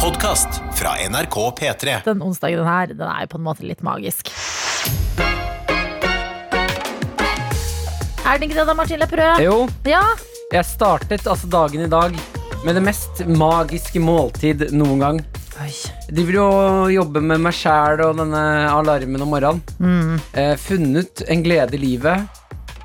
Podkast fra NRK P3. Den onsdagen her, den er jo på en måte litt magisk. Er den ikke det da, Martin Lepperød? Jo, Ja, jeg startet altså dagen i dag med det mest magiske måltid noen gang. De vil jo jobbe med meg sjæl og denne alarmen om morgenen. Mm. Eh, funnet en glede i livet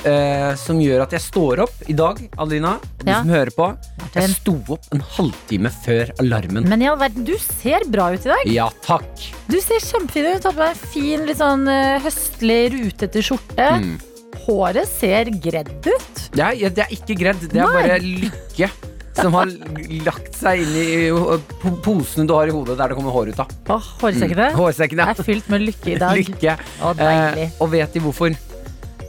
eh, som gjør at jeg står opp i dag, Adelina, og du Ja. som hører på. Martin. Jeg sto opp en halvtime før alarmen. men i all verden, du ser bra ut i dag. Ja takk. Du ser kjempefin ut. Du har på deg en fin, litt sånn eh, høstlig, rutete skjorte. Mm. Håret ser gredd ut. Det er, ja, det er ikke gredd, det er Nei. bare lykke. Som har l- lagt seg inn i ho- po- posene du har i hodet der det kommer hår ut av. Åh, hårsekkene Hårsekken, Mm. ja. er fylt med lykke i dag. Lykke. Å, deilig. Eh, og vet de hvorfor?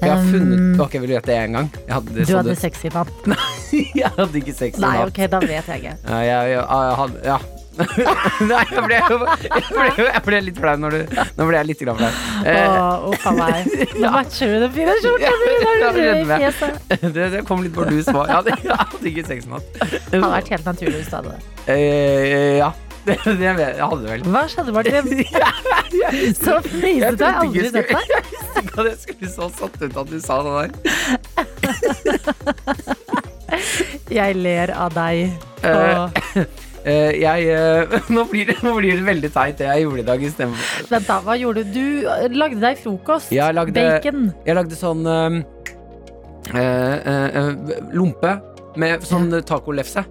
Jeg har funnet Um, Ok, vil du gjette det én gang? Jeg hadde, Du sånn hadde det- sexy mann. jeg hadde ikke sex med Nei, han. ok, da vet jeg ikke. Ja, jeg, jeg, jeg hadde, ja. Nei, jeg ble, jeg, ble, jeg ble litt flau når du Nå ble jeg litt grann flau. Eh, Åh, uff a meg. Nå matcher du den fine skjorta di! Da Ja, er du rød i jeg kjenner meg. fjeset. det, det kom litt hvor du svar. Jeg hadde, jeg hadde ikke sex med Det hadde han. vært helt naturlig hvis du hadde det. Eh, ja. Det, det, jeg vet- jeg hadde vel Hva skjedde, Martin? Så fnisete har jeg trodde ikke aldri jeg sett deg. skulle- Jeg visste ikke at jeg skulle så satt ut at du sa det der. Jeg ler av deg. Og, Eh, jeg, eh, nå, blir det, nå blir det veldig teit, det jeg gjorde i dag istedenfor. vent, da. Hva gjorde du? Du lagde deg frokost. Jeg lagde- Bacon. Jeg lagde sånn øhm, øh, øh, øh, lompe med sånn tacolefse.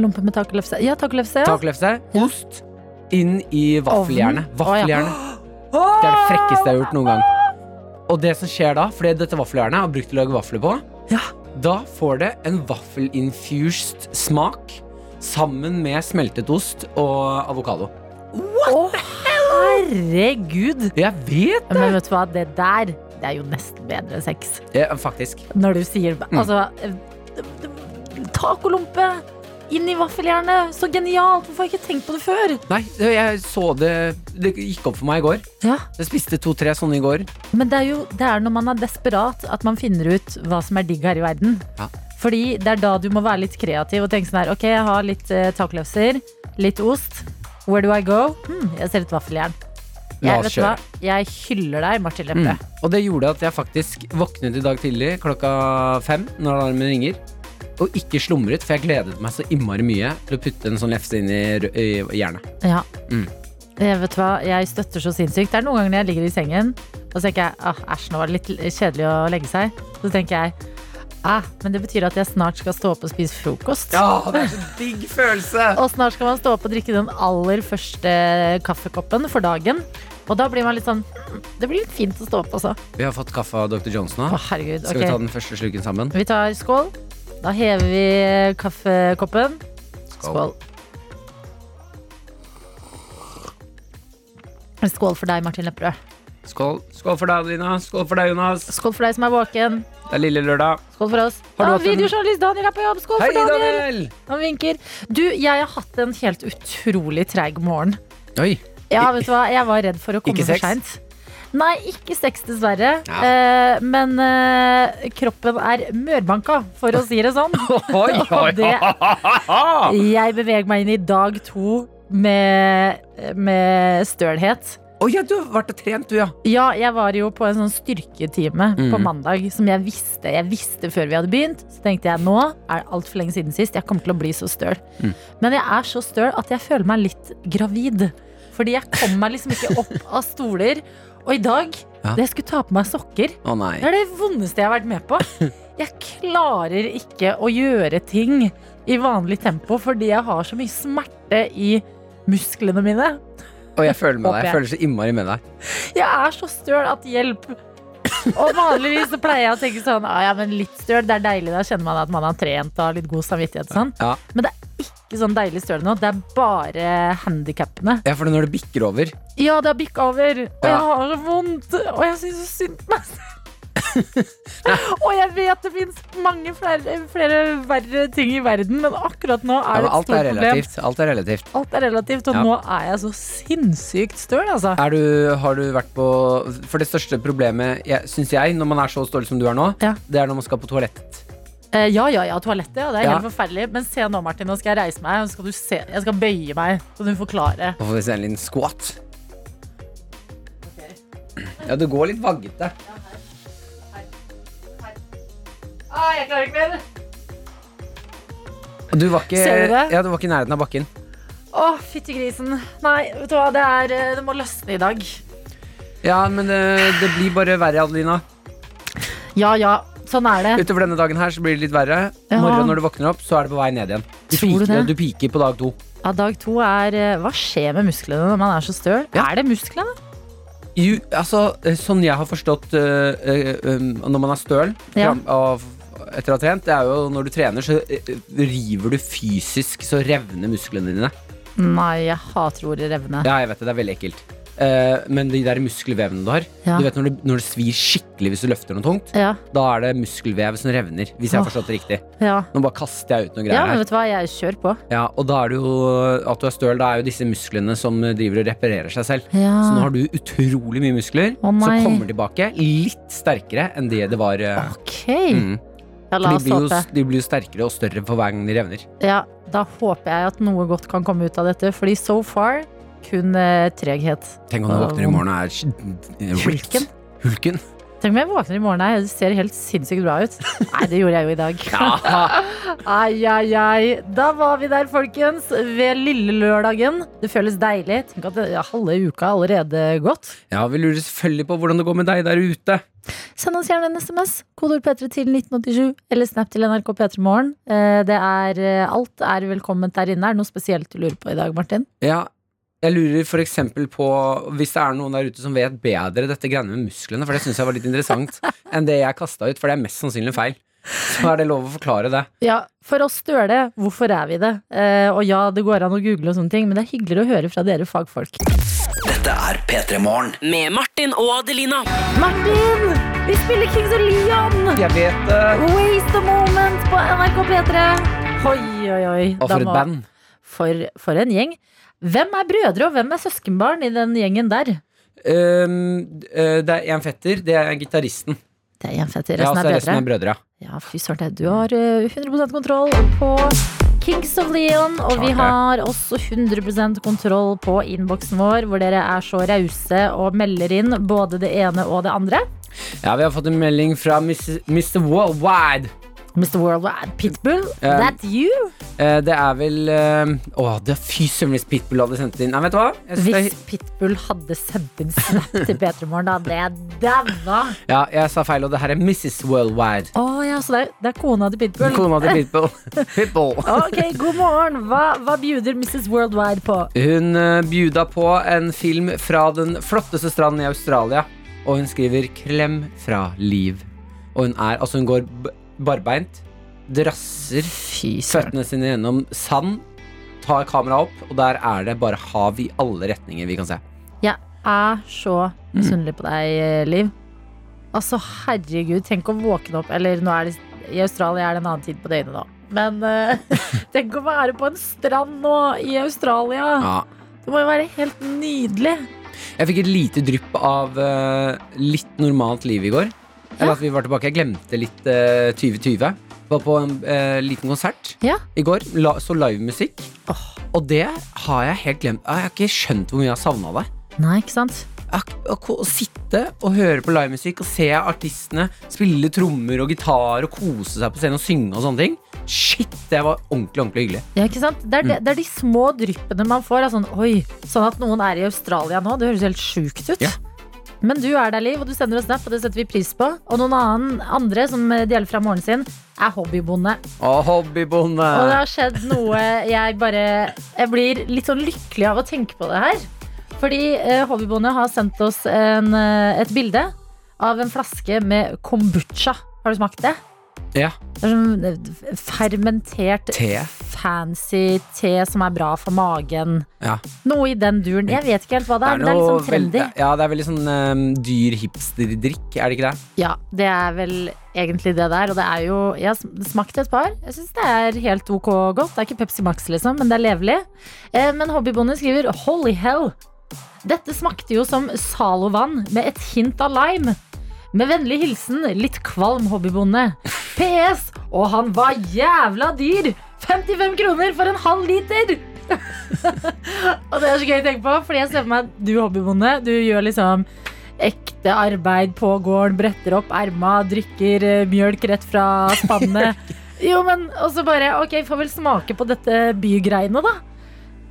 Lompe med tacolefse. Ja, tacolefse. Ja. Tacolefse, ost, inn i vaffeljernet. Ovnen? Vaffeljernet. Det er det frekkeste jeg har gjort noen gang. Og det som skjer da, fordi dette vaffeljernet har brukt til å lage vafler på, Ja. da får det en vaffelinfused smak sammen med smeltet ost og avokado. Å, herregud. Jeg vet Men vet du hva, det der det er jo nesten bedre enn sex. det, faktisk. Når du sier altså, eh, Tacolompe inn i vaffeljernet! Så genialt! Hvorfor har jeg ikke tenkt på det før? Nei, jeg så det Det gikk opp for meg i går. Ja, Jeg spiste to-tre sånne i går. Men det er jo det er når man er desperat at man finner ut hva som er digg her i verden. Ja. Fordi det er da du må være litt kreativ og tenke sånn her Ok, jeg har litt uh, tacolefser, litt ost. Where do I go? Hmm, jeg ser et vaffeljern. La Jeg, oss vet du hva? jeg hyller deg, Martin Lepperød. Mm. Og det gjorde at jeg faktisk våknet i dag tidlig klokka fem når alarmen ringer. Og ikke slumret, for jeg gledet meg så innmari mye til å putte en sånn lefse inn i, rø- i hjernen. Ja. Mm. Jeg vet hva, jeg støtter så sinnssykt. Det er noen ganger når jeg ligger i sengen, og så tenker jeg ah, æsj, nå var det litt kjedelig å legge seg. Så tenker jeg ah, men det betyr at jeg snart skal stå opp og spise frokost. det er så digg følelse! Og snart skal man stå opp og drikke den aller første kaffekoppen for dagen. Og da blir man litt sånn «Hm, Det blir litt fint å stå opp også. Å, Vi har fått kaffe av Dr. Johnson nå. herregud. Ah, Skal vi ta Ok. den første sluken sammen? Vi tar skål. Da hever vi kaffekoppen. Skål. Skål for deg, Martin Lepperød. Skål. Skål for deg, Adelina. Skål for deg, Jonas. Skål for deg som er våken. Det er lille lørdag. Skål for oss. Har du Ja, hatt en- videojournalist Daniel er på jobb. Skål Hei, for Daniel. Daniel! Han vinker. Du, jeg har hatt en helt utrolig treig morgen. Oi. Ja, vet du hva? Jeg var redd for å komme Ikke for sex? seint. Nei, ikke sex, dessverre. Ja. Eh, men eh, kroppen er mørbanka, for å si det sånn. Oi, oi, Og det, jeg beveger meg inn i dag to med, med stølhet. Oi, ja, du har vært og trent, du, ja. Ja, jeg var jo på en sånn styrketime på Mhm. mandag som jeg visste jeg visste før vi hadde begynt. Så tenkte jeg nå er det altfor lenge siden sist. Jeg kommer til å bli så støl. Men jeg er så støl at jeg føler meg litt gravid. Fordi jeg kom meg liksom ikke opp av stoler. Og i dag, Ja. da jeg skulle ta på meg sokker, Å nei. det er det vondeste jeg har vært med på. Jeg klarer ikke å gjøre ting i vanlig tempo fordi jeg har så mye smerte i musklene mine. Og jeg føler med deg. Jeg Håper føler så innmari med deg. Jeg er så støl at hjelp Og vanligvis så pleier jeg å tenke sånn ah, Ja, men litt støl, det er deilig Da kjenner man at man har trent og har litt god samvittighet og sånn. Ja. Men det er ikke sånn deilig støl nå Det er bare handikappene ja, for når det bikker over Ja, det har bikket over Og jeg Ja. har så vondt Og jeg synes så synd på meg selv. Og jeg vet det finnes mange flere, flere verre ting i verden Men akkurat nå er ja, det men et Alt er stort problem relativt. Alt er relativt. Alt er relativt, og Ja. nå er jeg så sinnssykt støl altså. Er du, har du vært på For det største problemet, jeg, syns jeg, når man er så stål som du er nå, Ja. det er når man skal på toalettet. Eh, ja, ja, ja, toalettet. Ja, det er Ja. helt forferdelig. Men se nå, Martin, nå skal jeg reise meg. og så Skal du se, jeg skal bøye meg, så du forklarer. Da får vi se en liten squat. Ja, du går litt vaggete. Ah, jeg klarer ikke mer. Du var ikke, Ser du det? Ja, du var ikke i nærheten av bakken. Å, fytti grisen. Nei, vet du hva, det, er, eh, det må løsne i dag. Ja, men det, det blir bare verre, Adelina. Ja, ja, sånn er det. Utover denne dagen her så blir det litt verre. Ja. Morgen når du våkner opp, så er det på vei ned igjen. Tror Du du piker, det? du piker på dag to. Ja, dag to er eh, Hva skjer med musklene når man er så støl? Ja. Er det musklene? Jo, altså, eh, sånn jeg har forstått eh, eh, um, når man er støl Ja. fram- av, etter å ha trent, det er jo når du trener, så eh, river du fysisk, så revner musklene dine. Nei, jeg hater ordet revne. Ja, jeg vet det, det er veldig ekkelt. Eh, men de der muskelvevene du har Ja. Du vet når det, når det svir skikkelig hvis du løfter noe tungt, Ja, da er det muskelvev som revner, hvis jeg har Åh. forstått det riktig. ja. Nå bare kaster jeg ut noen ja men greier her. vet du hva, jeg kjører på. Ja, og da er det jo at du er støl, da er jo disse musklene som driver og reparerer seg selv. Ja. Så nå har du utrolig mye muskler Ah. Å, nei. som kommer tilbake litt sterkere enn det det var. eh, Ok. Mm. Ja, la For de, oss blir jo, håpe. de blir jo sterkere og større for hver gang de revner. Ja, da håper jeg at noe godt kan komme ut av dette, fordi so far kun eh, treghet. Tenk om du Åh. våkner i morgen og er sk- ripped. Hulken. Hulken. Tenk om jeg våkner i morgen, nei, det ser helt sinnssykt bra ut. Nei, det gjorde jeg jo i dag. Ai, ai, ai. Da var vi der, folkens, ved lille lørdagen. Det føles deilig. Tenk at det, ja, halve uka er allerede gått. Ja, vi lurer selvfølgelig på hvordan det går med deg der ute. Send oss gjerne en SMS, kodeord P3 til 1987, eller snap til NRK P3 Morgen. Eh, Det er, eh, alt er velkomment der inne. Er det noe spesielt du lurer på i dag, Martin? Ja, jeg lurer for eksempel på Hvis det er noen der ute som vet bedre dette greiene med musklene, for det syns jeg var litt interessant, enn det jeg kasta ut, for det er mest sannsynlig feil. Så er det lov å forklare det. Ja, for oss støle, hvorfor er vi det? Eh, og ja, det går an å google og sånne ting, men det er hyggeligere å høre fra dere fagfolk. Med Martin og Adelina. Martin! Vi spiller Kings of Leon! Jeg vet eh, det. Waste the moment på NRK P3! Oi, oi, oi. Og Da for et må- band. For, for en gjeng. Hvem er brødre, og hvem er søskenbarn i den gjengen der? Um, eh, det er en fetter, det er gitaristen. Det er en fett, Ja, resten og så er er resten brødre. er brødre. ja. Ja, fy søren, du har eh, 100 kontroll på Kings of Leon. Og vi Klart det. har også 100 kontroll på innboksen vår, hvor dere er så rause og melder inn både det ene og det andre. Ja, vi har fått en melding fra Miss- Mr. Worldwide. Mr. Worldwide Pitbull, that's you! Eh, det er vel eh, Å, det er fy søren hvis Pitbull hadde sendt det inn. Nei, vet du hva? Jeg synes Hvis det, Pitbull hadde sendt inn snap til P3morgen, da hadde jeg daua. ja, jeg sa feil, og det her er Mrs. Worldwide. Å ja, så det er, det er kona til Pitbull. Kona til Pitbull. Pitbull. Ok, god morgen. Hva, hva bjuder Mrs. Worldwide på? Hun eh, bjuda på en film fra den flotteste stranden i Australia, og hun skriver 'Klem fra liv'. Og hun er Altså, hun går b barbeint, drasser Fy søren. føttene sine gjennom sand, tar kameraet opp, og der er det bare hav i alle retninger vi kan se. Jeg er så misunnelig på deg, Liv. Altså, herregud, tenk å våkne opp Eller nå er det i Australia er det en annen tid på døgnet nå. Men eh, tenk å være på en strand nå i Australia. Ja. Det må jo være helt nydelig. Jeg fikk et lite drypp av eh, litt normalt liv i går. Eller at vi var tilbake. Jeg glemte litt eh, 2020. Var på en eh, liten konsert Ja. i går. La, så livemusikk. Og det har jeg helt glemt. Ah, Jeg har ikke skjønt hvor mye jeg har savna det. Nei, ikke sant? Jeg har ikke- Å ko- å sitte og høre på livemusikk og se artistene spille trommer og gitar og kose seg på scenen og synge og sånne ting. Shit, det var ordentlig, ordentlig hyggelig. Ja, ikke sant? Det, er de, det er de små dryppene man får. Er sånn, Oi, sånn at noen er i Australia nå. Det høres helt sjukt ut. Ja. Men du er der, Liv, og du sender oss snap, og det setter vi pris på. Og noen annen, andre som eh, deler fra morgenen sin, er hobbybonde. Og hobbybonde. Og det har skjedd noe jeg bare Jeg blir litt sånn lykkelig av å tenke på det her. Fordi eh, Hobbybonde har sendt oss en, eh, et bilde av en flaske med kombucha. Har du smakt det? Ja. Det er sånn eh, fermentert Te. fancy te som er bra for magen. ja. Noe i den duren. Jeg vet ikke helt hva det er, men det er litt noe sånn trendy. veldig- ja, det er veldig sånn um, dyr hipsterdrikk, er det ikke det? Ja, det er vel egentlig det der. Og det er jo Jeg har sm- smakt et par. Jeg syns det er helt ok godt. Det er ikke Pepsi Max, liksom, men det er levelig. Eh, men Hobbybonde skriver 'Holy hell'. Dette smakte jo som Zalo-vann med et hint av lime. Med vennlig hilsen litt kvalm hobbybonde. PS. Og han var jævla dyr! 55 kroner for en halv liter! og det er så gøy å tenke på, fordi jeg ser for meg at du hobbybonde. Du gjør liksom ekte arbeid på gården, bretter opp erma, drikker eh, mjølk rett fra spannet. Jo, men Og så bare OK, får vel smake på dette bygreiene, da.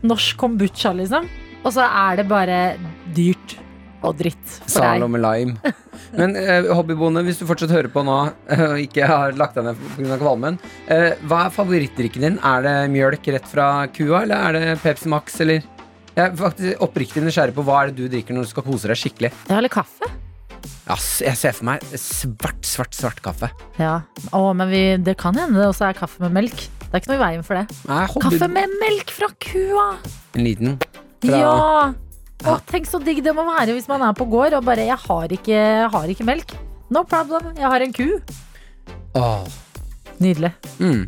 Norsk kombucha, liksom. Og så er det bare dyrt og dritt for deg. Salome Lime. Men eh, hobbybonde, hvis du fortsatt hører på nå eh, og ikke har lagt deg ned pga. kvalmen, eh, hva er favorittdrikken din? Er det mjølk rett fra kua, eller er det Pepsi Max, eller? Jeg er faktisk oppriktig nysgjerrig på hva er det du drikker når du skal kose deg skikkelig. Ja, eller kaffe. Ass, jeg ser for meg svart, svart, svart kaffe. Ja, Å, men vi, det kan hende det også er kaffe med melk. Det er ikke noe i veien for det. Nei, hobby- Kaffe med melk fra kua! En liten. Fra- Ja! Å, tenk så digg det må være hvis man er på gård og bare 'jeg har ikke, jeg har ikke melk'. No problem, jeg har en ku. Åh. Nydelig. Mm.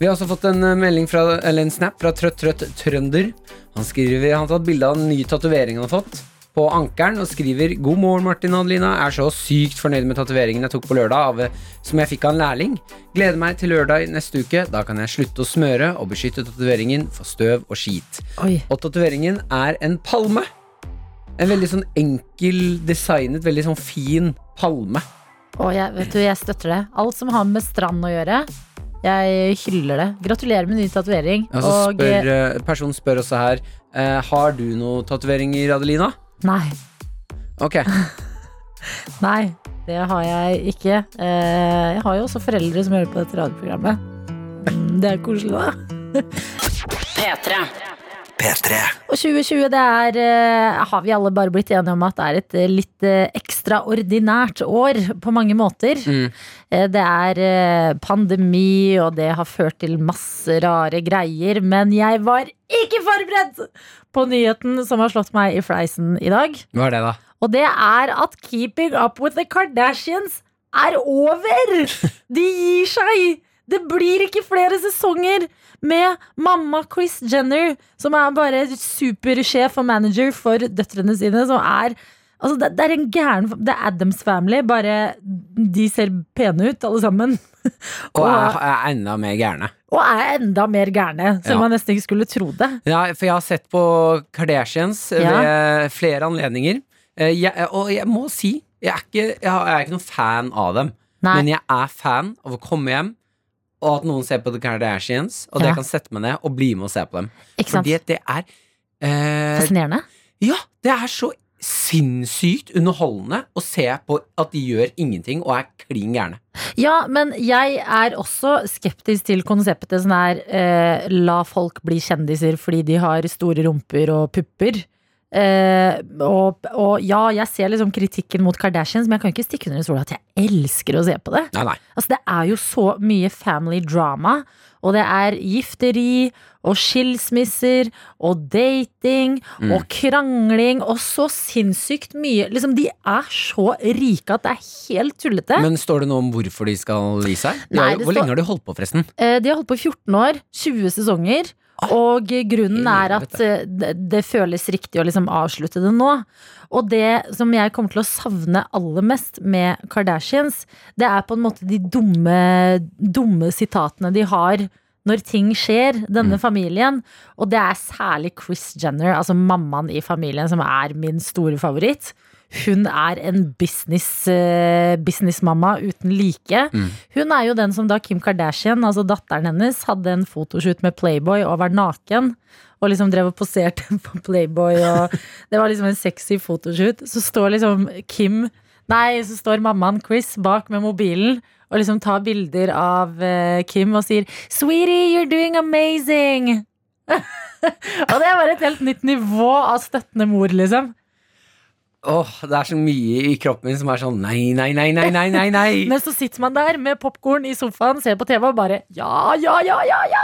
Vi har også fått en eh, melding fra, eller en snap fra Trøtt Trøtt Trønder. Han skriver, han har tatt bilde av en ny tatovering han har fått på ankeren og skriver God morgen, Martin og Adelina. Er så sykt fornøyd med tatoveringen jeg tok på lørdag, av, eh, som jeg fikk av en lærling. Gleder meg til lørdag i neste uke. Da kan jeg slutte å smøre og beskytte tatoveringen for støv og skit. Oi. Og tatoveringen er en palme. En veldig sånn enkel designet, veldig sånn fin palme. Å, jeg, vet du, jeg støtter det. Alt som har med strand å gjøre. Jeg hyller det. Gratulerer med ny tatovering. Ja, så spør, eh, personen spør også her eh, Har du noen tatoveringer, Adelina? Nei. Ok, Nei, det har jeg ikke. Eh, Jeg har jo også foreldre som hører på dette radioprogrammet. Mm, Det er koselig, da. P3. Og 2020, det er, eh, har vi alle bare blitt enige om at det er et eh, litt eh, ekstraordinært år på mange måter. Mm. Eh, Det er eh, pandemi, og det har ført til masse rare greier, men jeg var ikke forberedt på nyheten som har slått meg i fleisen i dag. hva er det da? Og det er at Keeping Up With The Kardashians er over! De gir seg! Det blir ikke flere sesonger med mamma Chris Jenner, som er bare supersjef og manager for døtrene sine, som er Altså, det, det er en gæren Det er Adams Family, bare de ser pene ut, alle sammen. Og Og- jeg er enda mer gærne Og er enda mer gærne, selv om Ja. man nesten ikke skulle tro det. ja, For jeg har sett på Kardashians Ved flere anledninger Eh, jeg, Og jeg må si Jeg er ikke, jeg har- jeg er ikke noen fan av dem Nei. Men jeg er fan av å komme hjem Og at noen ser på The Kardashians Og det Ja. jeg kan sette meg ned og bli med og se på dem Ikke sant? Fordi at det er eh, Fascinerende. Ja, det er så sinnssykt underholdende å se på at de gjør ingenting og er klin gærne. Ja, men jeg er også skeptisk til konseptet sånn her eh, La folk bli kjendiser fordi de har store rumper og pupper. Eh, og, og ja, jeg ser liksom kritikken mot Kardashians, men jeg kan ikke stikke under en stol at jeg elsker å se på det. Nei, nei. Altså, det er jo så mye family drama, og det er gifteri og skilsmisser og dating Mm. og krangling og så sinnssykt mye. Liksom, de er så rike at det er helt tullete. Men står det noe om hvorfor de skal gi seg? De Nei, har- det Hvor står- lenge har de holdt på, forresten? Eh, De har holdt på i 14 år, 20 sesonger. Og grunnen er at eh, det, det føles riktig å liksom avslutte det nå. Og det som jeg kommer til å savne aller mest med Kardashians, det er på en måte de dumme, dumme sitatene de har når ting skjer, denne familien. Og det er særlig Chris Jenner, altså mammaen i familien, som er min store favoritt. Hun er en business, eh, businessmamma uten like. Hun er jo den som da Kim Kardashian, altså datteren hennes, hadde en fotoshoot med Playboy og var naken. Og liksom drev og poserte på Playboy, og det var liksom en sexy fotoshoot. Så står liksom Kim Nei, så står mammaen Chris bak med mobilen og liksom tar bilder av eh, Kim og sier 'Sweetie, you're doing amazing'. og det er bare et helt nytt nivå av støttende mor, liksom. Åh, det er så mye i kroppen min som er sånn nei, nei, nei, nei, nei, nei, nei. Men så sitter man der med popkorn i sofaen, ser på TV og bare ja, ja, ja, ja, ja!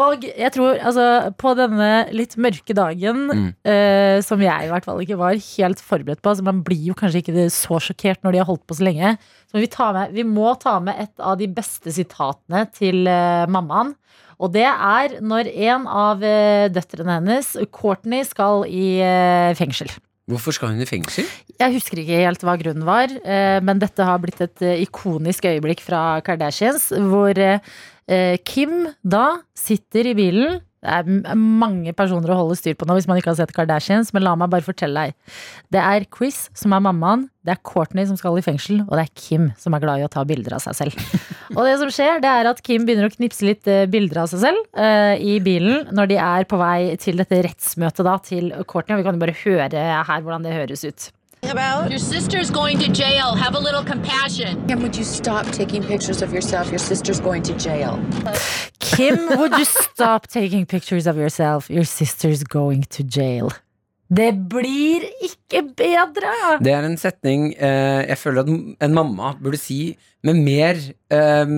Og jeg tror altså på denne litt mørke dagen, eh, som jeg i hvert fall ikke var helt forberedt på altså Man blir jo kanskje ikke så sjokkert når de har holdt på så lenge. Så vi, tar med, vi må ta med et av de beste sitatene til eh, mammaen. Og det er når en av eh, døtrene hennes, Courtney, skal i eh, fengsel. Hvorfor skal hun i fengsel? Jeg husker ikke helt hva grunnen var, eh, men dette har blitt et eh, ikonisk øyeblikk fra Kardashians, hvor eh, eh, Kim da sitter i bilen. Det er m- mange personer å holde styr på nå hvis man ikke har sett Kardashians, men la meg bare fortelle deg. Det er Chris som er mammaen, det er Courtney som skal i fengsel, og det er Kim som er glad i å ta bilder av seg selv. Og det som skjer, det er at Kim begynner å knipse litt eh, bilder av seg selv eh, i bilen når de er på vei til dette rettsmøtet da til Courtney, og vi kan jo bare høre her hvordan det høres ut. Your sister's going to jail. Have a little compassion. Kim, would you stop taking pictures of yourself? Your sister's going to jail. Kim, would you stop taking pictures of yourself? Your sister's going to jail. Det blir ikke bedre! Det er en setning eh, jeg føler at m- en mamma burde si med mer eh,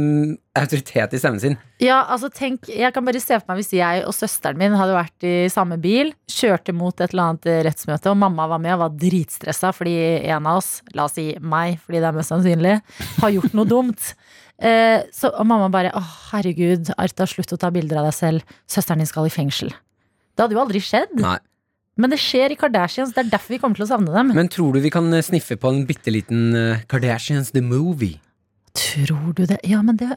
autoritet i stemmen sin. Ja, altså tenk, Jeg kan bare se for meg hvis jeg og søsteren min hadde vært i samme bil, kjørte mot et eller annet eh, rettsmøte, og mamma var med og var dritstressa fordi en av oss, la oss si meg, fordi det er mest sannsynlig, har gjort noe dumt. Eh, så, og mamma bare 'Å, herregud, Arta, slutt å ta bilder av deg selv. Søsteren din skal i fengsel'. Det hadde jo aldri skjedd. Nei. Men det skjer i Kardashians. Det er derfor vi kommer til å savne dem. Men tror du vi kan eh, sniffe på en bitte liten eh, Kardashians The Movie? Tror du det? Ja, men det,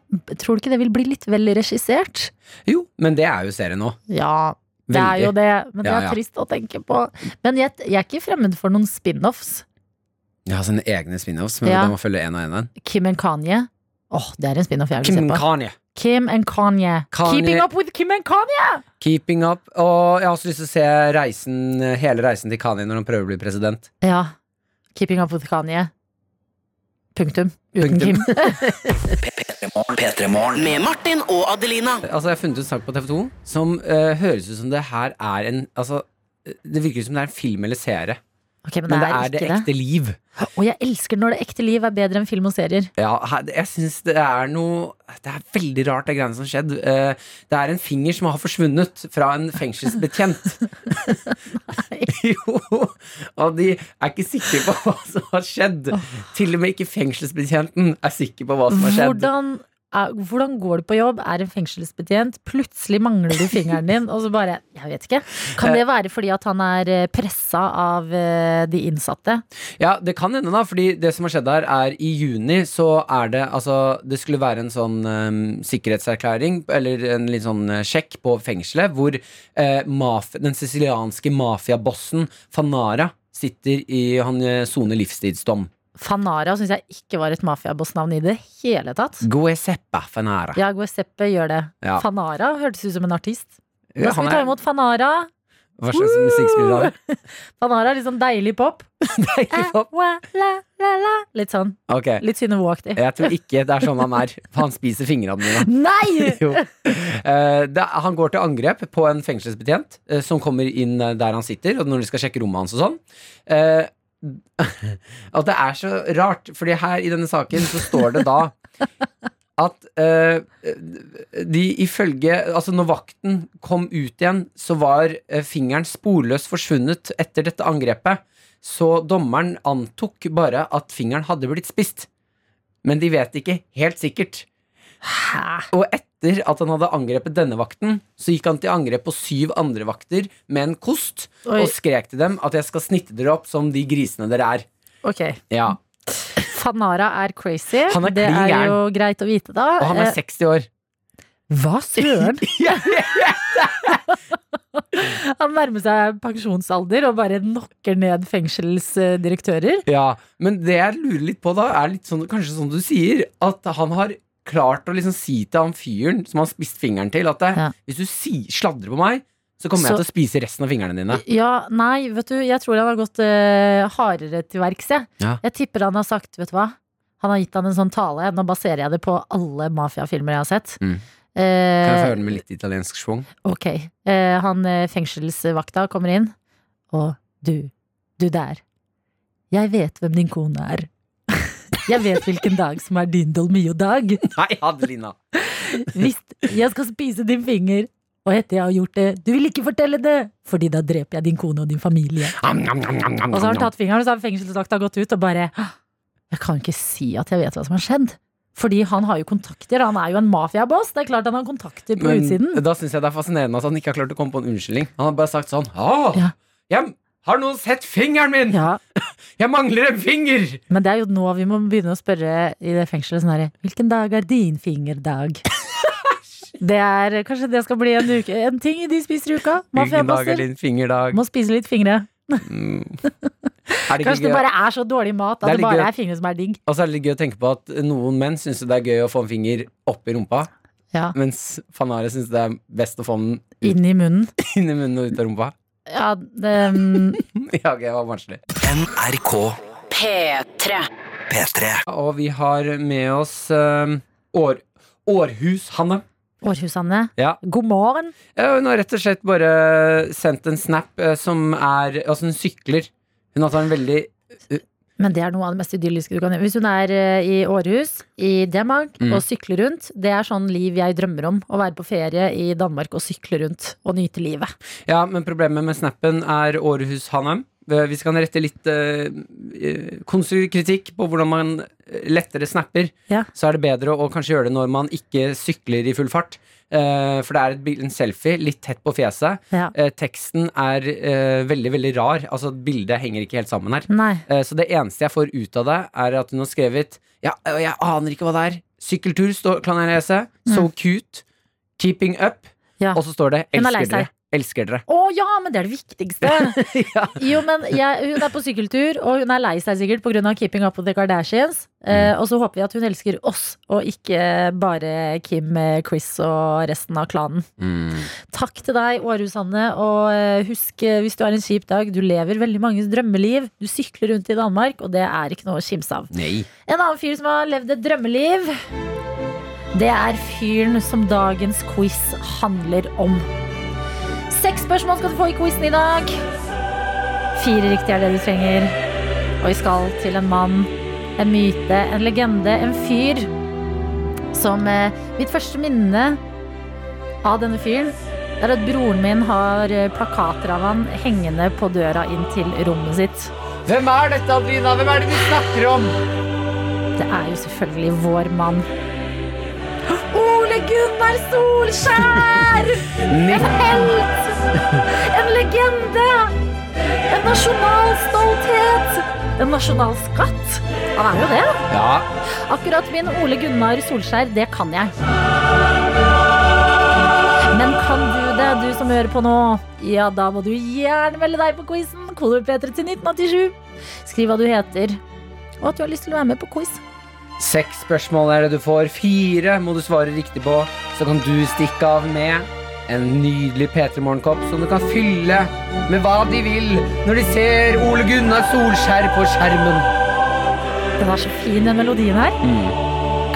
tror du ikke det vil bli litt vel regissert? Jo, men det er jo serien nå. Ja, det er jo Veldig. det, men det Ja, er ja. trist å tenke på. Men jeg, jeg er ikke fremmed for noen spin-offs. Ja, sine egne spin-offs, men Ja. da må følge en og en. og en. Kim and Kanye. Åh, det er en spin-off jeg vil se Kim på. Kanye. Kim and Kanye. Kanye- Keeping up with Kim and Kanye! Keeping up. Og jeg har også lyst til å se reisen, eh, hele reisen til Kanye når han prøver å bli president. Ja. Keeping up with Kanye. Punktum. Uten Punktum. Kim. Med Martin og Adelina. Altså, jeg har funnet en sak på TV 2 som eh, høres ut som det her er en Altså, eh, det virker som det er en film eller serie, Ok, men, men det er ikke det det. ekte liv. Og jeg elsker når det ekte liv er bedre enn film og serier. Ja, her- jeg syns det er noe Det er veldig rart, det greiene som har skjedd. Eh, Det er en finger som har forsvunnet fra en fengselsbetjent. jo! Og de er ikke sikre på hva som har skjedd. Til og med ikke fengselsbetjenten er sikker på hva som har skjedd. Hvordan, er, hvordan går du på jobb? Er en fengselsbetjent? Plutselig mangler du fingeren din, og så bare Jeg vet ikke. Kan det være fordi at han er pressa av eh, de innsatte? Ja, det kan hende, da. Fordi det som har skjedd her, er i juni så er det Altså, det skulle være en sånn eh, sikkerhetserklæring, eller en litt sånn eh, sjekk på fengselet, hvor eh, maf den sicilianske mafiabossen Fanara sitter i Han eh, soner livstidsdom. Fanara syns jeg ikke var et mafiabossnavn i det hele tatt. Gueseppa Fanara. Ja, Guesteppe gjør det. Ja, Fanara hørtes ut som en artist. Da skal han vi ta er, imot Fanara. hva slags musikkspiller er det? Fanara er litt sånn deilig pop. Eh, wa, la, la, la. Litt sånn. sånn. Ok. Litt Synnøve Walk-aktig. Jeg tror ikke det er sånn han er. for Han spiser fingrene mine. Nei! jo. Eh, det, han går til angrep på en fengselsbetjent eh, som kommer inn eh, der han sitter, og når de skal sjekke rommet hans og sånn. Eh, og det er så rart, fordi her i denne saken så står det da at eh, de ifølge Altså, når vakten kom ut igjen, så var eh, fingeren sporløst forsvunnet etter dette angrepet. Så dommeren antok bare at fingeren hadde blitt spist. Men de vet ikke helt sikkert. Og etter at han hadde angrepet denne vakten, så gikk han til angrep på syv andre vakter med en kost Oi. og skrek til dem at jeg skal snitte dere opp som de grisene dere er. Ok. Ja. Fanara er crazy. Han er det klin er gæren. jo greit å vite, da. Og han Eh, er 60 år. Hva søren? han nærmer seg pensjonsalder og bare knocker ned fengselsdirektører. Ja, Men det jeg lurer litt på, da, er litt sånn, kanskje sånn du sier, at han har klart å liksom si til han fyren som han spiste fingeren til, at det, Ja. hvis du si, sladrer på meg, så kommer Så- jeg til å spise resten av fingrene dine. Ja, nei, vet du, jeg tror han har gått eh, hardere til verks, jeg. Ja. Jeg tipper han har sagt, vet du hva, han har gitt han en sånn tale, nå baserer jeg det på alle mafiafilmer jeg har sett. Mm. Kan jeg få Eh, høre den med litt italiensk schwung? ok, eh, han eh, fengselsvakta kommer inn, og du, du der, jeg vet hvem din kone er. Jeg vet hvilken dag som er din Dolmio-dag. Nei, Adelina! Hvis jeg skal spise din finger, og etter jeg har gjort det, du vil ikke fortelle det, fordi da dreper jeg din kone og din familie. Am, am, am, am, am, Og så har am, han tatt fingeren, og så har fengselsvakta gått ut og bare «Hå, Jeg kan ikke si at jeg vet hva som har skjedd. Fordi han har jo kontakter, han er jo en mafiaboss. Det er klart han har kontakter på Men utsiden. Da syns jeg det er fascinerende at han ikke har klart å komme på en unnskyldning. Han har bare sagt sånn Å, Ja. hjem! Har noen sett fingeren min? Ja, Jeg mangler en finger! Men det er jo nå vi må begynne å spørre i det fengselet sånn herre Hvilken dag er din fingerdag? det er Kanskje det skal bli en, uke, en ting de spiser i uka? Hvilken dag er Mafiapaster. din fingerdag? Må spise litt fingre. Er det ikke Kanskje det gøy- bare er så dårlig mat at Det er det litt bare gøy. er fingre som er digg. Og så er det litt gøy å tenke på at noen menn syns det er gøy å få en finger opp i rumpa, Ja. mens Fanare syns det er best å få den Inn i munnen. inn i munnen og ut av rumpa. Ja, det, mm, Ja, ok, det var barnslig. NRK P3. P3. Og vi har med oss eh, år, Århus-Hanne. Århus-Anne. Ja. God morgen. Ja, Hun har rett og slett bare sendt en snap eh, som er Altså, hun sykler. Hun har tatt en veldig Men det er noe av det mest idylliske du kan gjøre. Hvis hun er eh, i Århus, i Demag, Mm. og sykler rundt. Det er sånn liv jeg drømmer om. Å være på ferie i Danmark og sykle rundt og nyte livet. Ja, men problemet med snappen er Århus-Hanne. Eh, Vi skal rette litt eh, eh, konstruktiv kritikk på hvordan man eh, lettere snapper. Ja. Så er det bedre å kanskje gjøre det når man ikke sykler i full fart. Eh, for det er et, bil- en selfie litt tett på fjeset. Ja. Eh, teksten er eh, veldig, veldig rar. Altså, bildet henger ikke helt sammen her. Nei. Eh, Så det eneste jeg får ut av det, er at hun har skrevet Ja, og jeg aner ikke hva det er. Sykkeltur, står, kan jeg lese. So cute. Keeping up. Mm. Ja. Og så står det Hun er lei Elsker seg. dere. Elsker dere. Å ja, men det er det viktigste! ja. Jo, men jeg, Hun er på sykkeltur, og hun er lei seg sikkert pga. Keeping Up With The Kardashians. Eh, og så håper vi at hun elsker oss, og ikke bare Kim, eh, Chris og resten av klanen. Takk til deg, Århus Hanne. Og eh, husk, eh, hvis du har en kjip dag, du lever veldig manges drømmeliv. Du sykler rundt i Danmark, og det er ikke noe å kimse av. Nei. En annen fyr som har levd et drømmeliv, det er fyren som dagens quiz handler om. Seks spørsmål skal du få i quizen i dag. Fire riktige er det du trenger. Og vi skal til en mann, en myte, en legende, en fyr som eh, Mitt første minne av denne fyren er at broren min har eh, plakater av han hengende på døra inn til rommet sitt. Hvem er dette, Adelina? Hvem er det vi snakker om? Det er jo selvfølgelig vår mann. Ole Gunnar Solskjær! En helt! En legende! En nasjonal stolthet! En nasjonal skatt! Han er jo det. Ja, Akkurat min Ole Gunnar Solskjær, det kan jeg. Men kan du det, du som hører på nå? Ja, da må du gjerne melde deg på quizen. Kodord P3 til 1987. Skriv hva du heter, og at du har lyst til å være med på quiz. Seks spørsmål er det du får. Fire må du svare riktig på. Så kan du stikke av med en nydelig P3 Morgenkopp som du kan fylle med hva de vil når de ser Ole Gunnar Solskjær på skjermen. Den er så fin, den melodien her.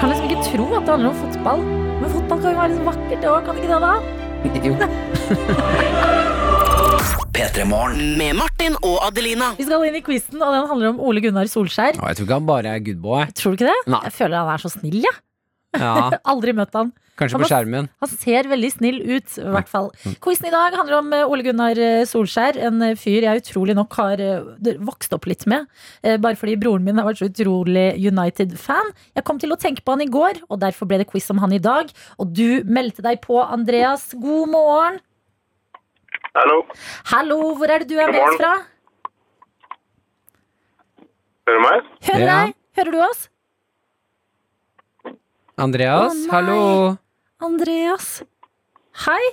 Kan liksom ikke tro at det handler om fotball. Men fotball kan jo være liksom vakkert, det òg, kan det ikke det? da? Jo. P3 Morgen. Med Martin og Adelina. Vi skal inn i quizen, og den handler om Ole Gunnar Solskjær. Ja, Jeg tror ikke han bare er goodboy. Tror du ikke det? Nei. Jeg føler han er så snill, jeg. Ja, Aldri møtt han. kanskje på skjermen. Han ser veldig snill ut, i hvert fall. Quizen i dag handler om eh, Ole Gunnar eh, Solskjær, en eh, fyr jeg utrolig nok har eh, d- vokst opp litt med. eh, Bare fordi broren min har vært så utrolig United-fan. Jeg kom til å tenke på han i går, og derfor ble det quiz om han i dag. Og du meldte deg på, Andreas. God morgen. Hallo, Hallo, hvor er det du er God med oss morgen. fra? hører du meg? Hører Ja. deg? Hører du oss? Andreas, Å, nei. hallo. Andreas. Hei.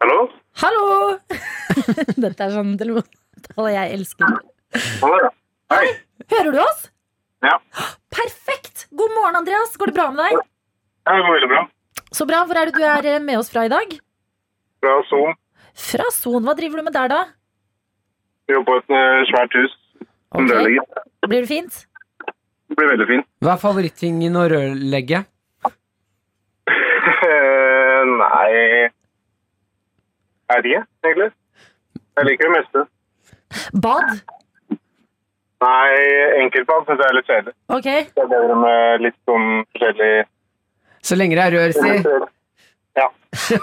Hallo? Hallo! Dette er sånn telefontale jeg elsker. Hallo? Hei. Hører du oss? Ja, Perfekt! God morgen, Andreas. Går det bra med deg? det går veldig bra. Så bra. Hvor er det du er eh, med oss fra i dag? Bra Zoom. Fra Son. Hva driver du med der, da? Vi jobber på et eh, svært hus. Som Ok. rørlegger. Blir det fint? Det blir veldig fint. Hva er favorittingen å rørlegge? Eh, Nei, er det, egentlig? Jeg liker det meste. Bad? Nei, enkeltbad synes jeg er litt kjedelig. Ok. Det er bedre med litt sånn forskjellig... Så lenge det er rør, si. Ja,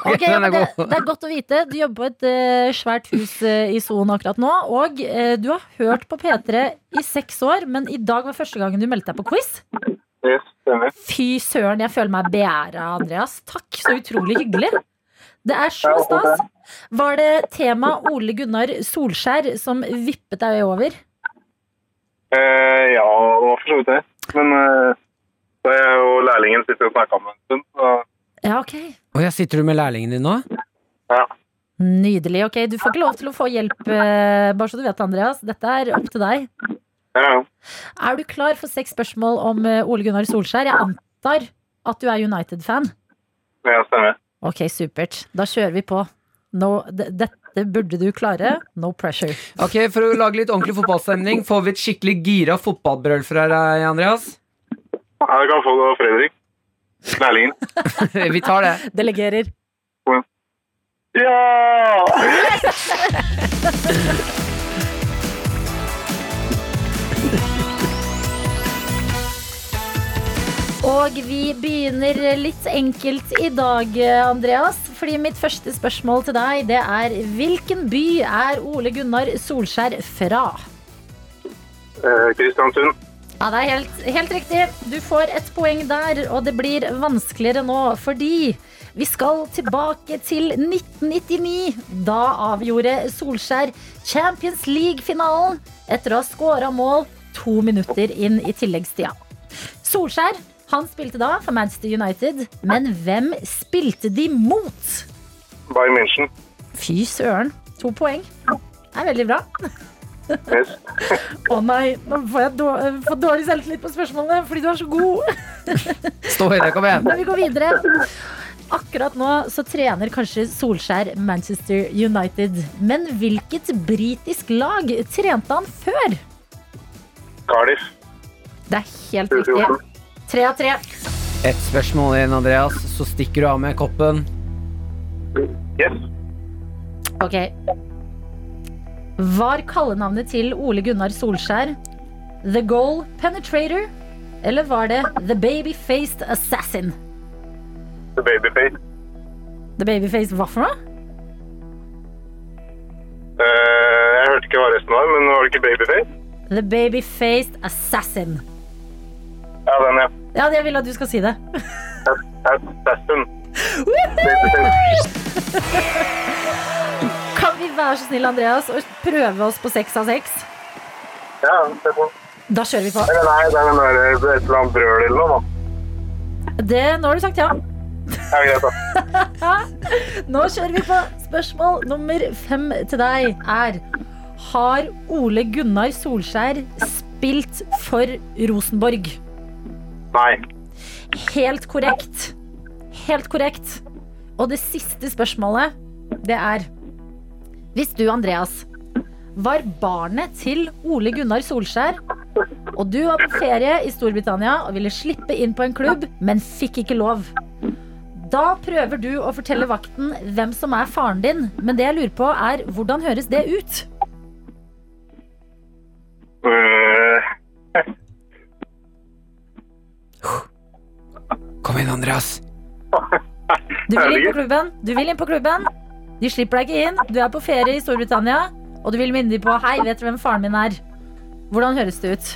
Ok, ja, den er men det, god. det er godt å vite. Du jobber på et eh, svært hus eh, i Son akkurat nå. Og eh, du har hørt på P3 i seks år, men i dag var første gangen du meldte deg på quiz. yes, stemmer. Fy søren, jeg føler meg beæra, Andreas. Takk, så utrolig hyggelig. Det er så stas. Var det tema Ole Gunnar Solskjær som vippet deg over? Eh, ja, det var for så vidt det. Men eh, det er jo lærlingen sitter og snakker om en stund, så Ja, ok. Å ja, sitter du med lærlingen din nå? ja. Nydelig. ok. Du får ikke lov til å få hjelp, eh, bare så du vet, Andreas. Dette er opp til deg. ja. ja. Er du klar for seks spørsmål om eh, Ole Gunnar Solskjær? Jeg antar at du er United-fan. Ja, stemmer. Ok, supert. Da kjører vi på. No, d dette burde du klare. No pressure. Ok, For å lage litt ordentlig fotballstemning, får vi et skikkelig gira fotballbrøl fra deg, Andreas? Ja, du kan få det av Fredrik. Lærlingen. Vi tar det. Delegerer. Ja! Og vi begynner litt enkelt i dag, eh, Andreas. Fordi mitt første spørsmål til deg, det er hvilken by er Ole Gunnar Solskjær fra? Eh, Kristiansund. Ja, det er helt, helt riktig. Du får ett poeng der, og det blir vanskeligere nå fordi vi skal tilbake til 1999. Da avgjorde Solskjær Champions League-finalen etter å ha skåra mål to minutter inn i tilleggstida. Solskjær han spilte da for Manchester United, men hvem spilte de mot? Bayern München. Fy søren. To poeng. Det er veldig bra. Yes. Å nei, nå får jeg dår- får dårlig selvtillit på spørsmålene fordi du er så god. Stå høyere, kom igjen. Men vi går videre. Akkurat nå så trener kanskje Solskjær Manchester United. Men hvilket britisk lag trente han før? Cardiff. Det er helt riktig. Tre av tre. Ett spørsmål igjen, Andreas, så stikker du av med koppen. Yes. Ok. Var kallenavnet til Ole Gunnar Solskjær The Goal Penetrator? Eller var det The Baby-Faced Assassin? The Babyface. The Babyface hva for noe? Eh, jeg hørte ikke hva resten var, men var det ikke Babyface? The Baby-Faced Assassin. Ja, den, ja. Ja, jeg vil at du skal si det. Assassin. Babyface. Kan vi være så snill, Andreas, og prøve oss på seks av seks? Ja, det er sånn. Da kjører vi på. Eller nei, det er den der, et eller annet brøl eller noe, da. Det, nå har du sagt ja. Ja, greit, da. Nå kjører vi på. Spørsmål nummer fem til deg er Har Ole Gunnar Solskjær spilt for Rosenborg? Nei. Helt korrekt. Helt korrekt. Og det siste spørsmålet, det er Hvis du, Andreas, var barnet til Ole Gunnar Solskjær, og du var på ferie i Storbritannia og ville slippe inn på en klubb, men fikk ikke lov. Da prøver du å fortelle vakten hvem som er faren din, men det jeg lurer på, er hvordan høres det ut? Eh, Kom igjen, Andreas. Du vil inn på klubben, du vil inn på klubben. De slipper deg ikke inn. Du er på ferie i Storbritannia, og du vil minne dem på Hei, vet du hvem faren min er? Hvordan høres det ut?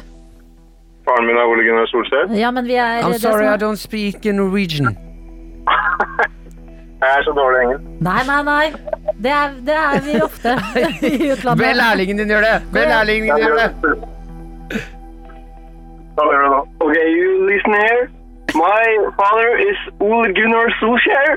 faren min er Ole Gunnar Solskjær. Ja, men vi er eh, I'm det som- sorry I don't speak Norwegian. Jeg er så dårlig i engelsk. Nei, nei, nei. Det er, det er vi ofte i Be utlandet. lærlingen din gjøre det! Be lærlingen din gjøre det! Da gjør du det. Okay, you listen here. My father is Ole Gunnar Solskjær.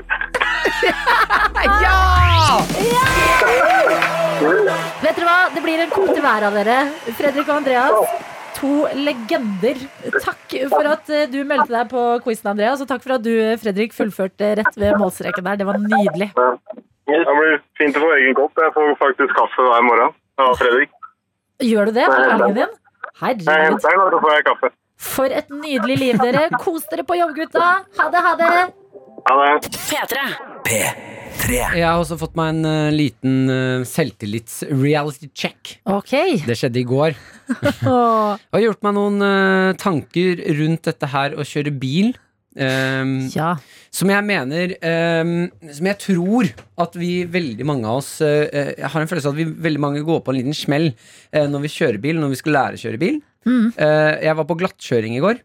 Vet dere hva? Det blir en kvote hver av dere. Fredrik og Andreas. To legender. Takk for at eh, du meldte deg på quizen, Andreas. Og takk for at du, eh, Fredrik, fullførte rett ved målstreken der. Det var nydelig. Det blir fint å få egen kopp. Jeg får faktisk kaffe hver morgen. Ja, Fredrik. Gjør du det? Har du lagret din? Jeg Herregud. henter den, og så får jeg kaffe. For et nydelig liv, dere. Kos dere på jobb, gutta. Ha det, ha det. Ha det. P3. P3. Jeg har også fått meg en eh, liten eh, selvtillits-reality check. Ok. Det skjedde i går. Åh. Og jeg har gjort meg noen eh, tanker rundt dette her å kjøre bil. Um, Ja. Som jeg mener ehm, Som jeg tror at vi veldig mange av oss eh, eh, Jeg har en følelse av at vi veldig mange går på en liten smell eh, når vi kjører bil, når vi skal lære å kjøre bil. Eh, jeg var på glattkjøring i går.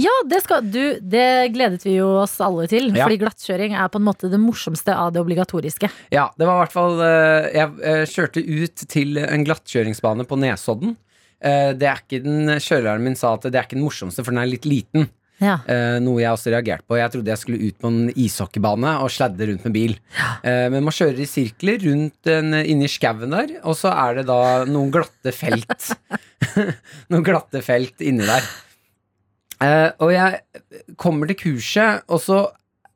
Ja, det, skal, du, det gledet vi jo oss alle til. Ja. Fordi glattkjøring er på en måte det morsomste av det obligatoriske. Ja, det var i hvert fall eh, Jeg eh, kjørte ut til en glattkjøringsbane på Nesodden. Eh, Det er ikke den Kjøreren min sa at det er ikke den morsomste, for den er litt liten. Ja. Eh, Noe jeg også reagerte på. Jeg trodde jeg skulle ut på en ishockeybane og sladde rundt med bil. Eh, Men man kjører i sirkler rundt en, inni skauen der, og så er det da noen glatte felt. noen glatte felt inni der. Eh, og jeg kommer til kurset, og så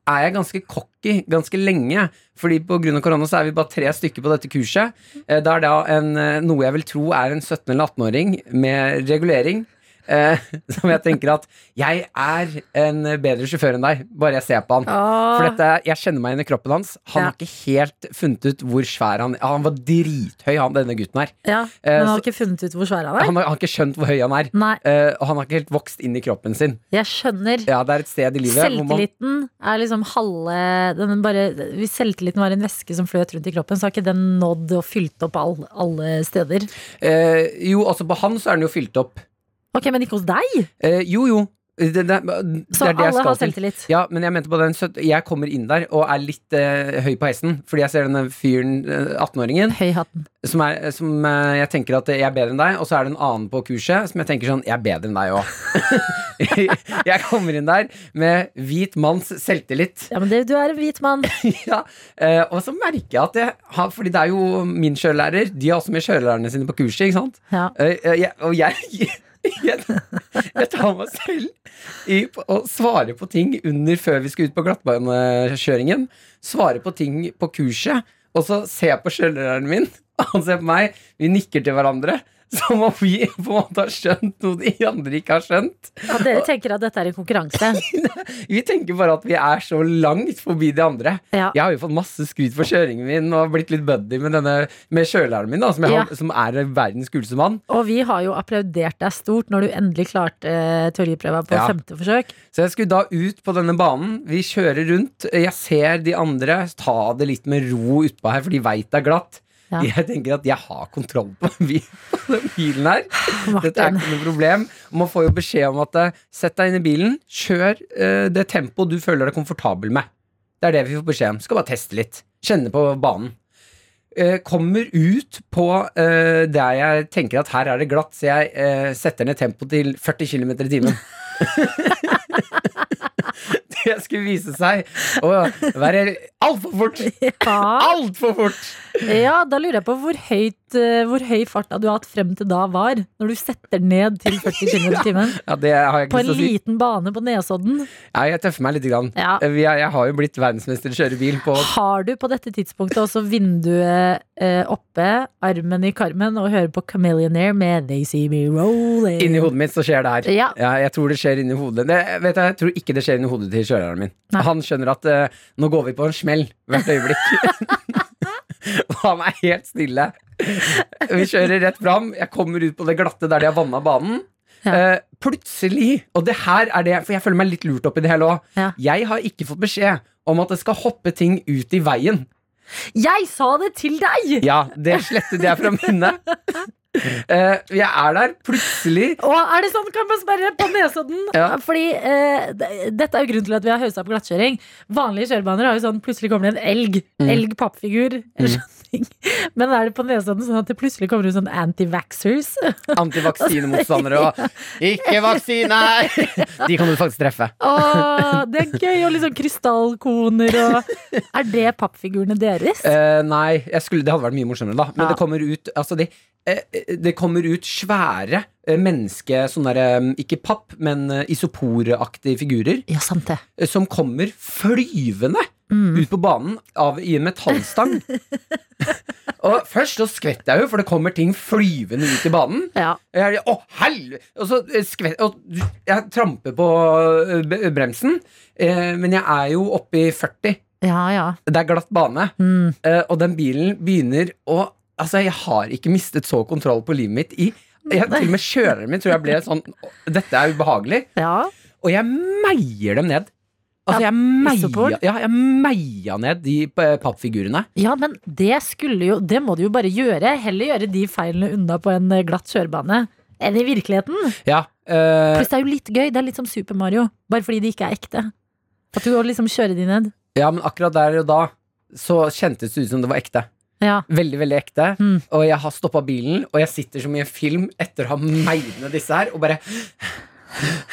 er jeg ganske cocky ganske lenge. Fordi pga. korona så er vi bare tre stykker på dette kurset. Eh, Det er da en, eh, noe jeg vil tro er en 17- eller 18-åring med regulering. Eh, som jeg tenker at jeg er en bedre sjåfør enn deg, bare jeg ser på han. For dette, jeg kjenner meg inn i kroppen hans. Han Ja. har ikke helt funnet ut hvor svær han Han var drithøy, han denne gutten her. Ja, Eh, Men han har så- ikke funnet ut hvor svær han er? Han har, han har ikke skjønt hvor høy han er. Nei, Eh, og han har ikke helt vokst inn i kroppen sin. jeg skjønner. Ja, det er et sted i livet hvor man Selvtilliten er liksom halve den er bare, Hvis selvtilliten var en væske som fløt rundt i kroppen, så har ikke den nådd og fylt opp all, alle steder. Eh, Jo, altså på han så er den jo fylt opp. Ok, men ikke hos deg! Eh, jo, jo. Det, det, det er det Så jeg alle skal har til. selvtillit. Ja, men jeg mente på den søt- Jeg kommer inn der og er litt eh, høy på hesten, fordi jeg ser denne fyren, eh, 18-åringen, Høy i hatten. som, er, som eh, jeg tenker at jeg er bedre enn deg, og så er det en annen på kurset som jeg tenker sånn Jeg er bedre enn deg òg. jeg kommer inn der med hvit manns selvtillit. Ja, men det, du er en hvit mann. ja, eh, og så merker jeg at jeg har Fordi det er jo min kjørelærer. De har også med kjørelærerne sine på kurset, ikke sant? Ja. Eh, eh, jeg, og jeg, jeg, jeg tar meg selv i p- å svare på ting under før vi skal ut på glattbanekjøringen. Svare på ting på kurset, og så ser jeg på kjørelæreren min, og han ser på meg. Vi nikker til hverandre. Som om vi på en måte har skjønt noe de andre ikke har skjønt. Ja, dere tenker at dette er en konkurranse. Vi tenker bare at vi er så langt forbi de andre. Ja. Jeg har jo fått masse skryt for kjøringen min og har blitt litt buddy med, denne, med kjøleren min, da, som, jeg, har- Ja. som er verdens kuleste mann. Og vi har jo applaudert deg stort når du endelig klarte eh, teoriprøva på Ja. femte forsøk. Så jeg skulle da ut på denne banen. Vi kjører rundt. Jeg ser de andre ta det litt med ro utpå her, for de veit det er glatt. Ja. Jeg tenker at jeg har kontroll på den bil- på den bilen her. Dette er Martin. ikke noe problem. Og man får jo beskjed om at eh, sett deg inn i bilen, kjør eh, det tempoet du føler deg komfortabel med. Det er det vi får beskjed om. Skal bare teste litt. Kjenne på banen. Eh, kommer ut på eh, der jeg tenker at her er det glatt, så jeg eh, setter ned tempoet til 40 km i timen. det skulle vise seg å være altfor fort! Ja. Altfor fort! ja, da lurer jeg på hvor, høyt, eh, hvor høy farta du har hatt frem til da var, når du setter ned til 40 km i timen. Ja, det har jeg ikke På en lyst til å si. liten bane på Nesodden. Ja, jeg tøffer meg litt. Grann. Ja. Eh, vi er- Jeg har jo blitt verdensmester i å kjøre bil på Har du på dette tidspunktet også vinduet eh, oppe, armen i karmen og hører på Chameleonaire med They See Me Rolling? Inni hodet mitt så skjer det her. Ja. jeg tror det skjer inni hodet det, vet du, Jeg tror ikke det skjer inni hodet til kjøreren min. Nei. Han skjønner at eh, nå går vi på en smell hvert øyeblikk. Og han er helt stille. Vi kjører rett fram. Jeg kommer ut på det glatte der de har vanna banen. Ja. Eh, plutselig, og det her er det For jeg føler meg litt lurt oppi det hele òg. Ja. Jeg har ikke fått beskjed om at det skal hoppe ting ut i veien. Jeg sa det til deg! Ja, det slettet jeg fra minnet. Eh, jeg er der plutselig. Og er det sånn, kan man sperre på Nesodden? Ja. Fordi eh, d- dette er jo grunnen til at vi har hausa opp glattkjøring. Vanlige kjørebaner har jo sånn plutselig kommer det en elg. Elg, pappfigur. eller sånne ting. Men er det på Nesodden sånn at det plutselig kommer ut sånn anti-vaxxers? Antivaksinemotstandere og 'ikke vaksine her'! De kan du faktisk treffe. Åh, det er gøy, og liksom krystallkoner og Er det pappfigurene deres? Eh, nei, jeg skulle, det hadde vært mye morsommere, da. Men Ja. det kommer ut altså de, eh, eh, Det kommer ut svære eh, menneske... Sånne der, eh, ikke papp, men eh, isoporaktige figurer Ja, sant det. eh, som kommer flyvende ut på banen av, i en metallstang. og først så skvetter jeg jo, for det kommer ting flyvende ut i banen. Ja. Jeg, er- å, helv- og så eh, skvet, og, du- jeg tramper på eh, b- bremsen, eh, men jeg er jo oppe i 40. Ja, ja. Det er glatt bane, Mm. eh, og den bilen begynner å Altså, jeg har ikke mistet så kontroll på livet mitt i jeg, Til og med kjøreren min tror jeg ble sånn «Å, Dette er ubehagelig. ja. Og jeg meier dem ned. Altså, Ja, jeg isopor. meia, ja, jeg meia ned de eh, pappfigurene. Ja, men det skulle jo Det må du jo bare gjøre. Heller gjøre de feilene unna på en eh, glatt kjørebane enn i virkeligheten. Ja, Eh, Pluss det er jo litt gøy. Det er litt som Super Mario, bare fordi det ikke er ekte. At du går liksom kjører de ned. ja, men akkurat der og da så kjentes det ut som det var ekte. Ja. Veldig, veldig ekte. Mm. Og jeg har stoppa bilen, og jeg sitter som i en film etter å ha meinet disse her, og bare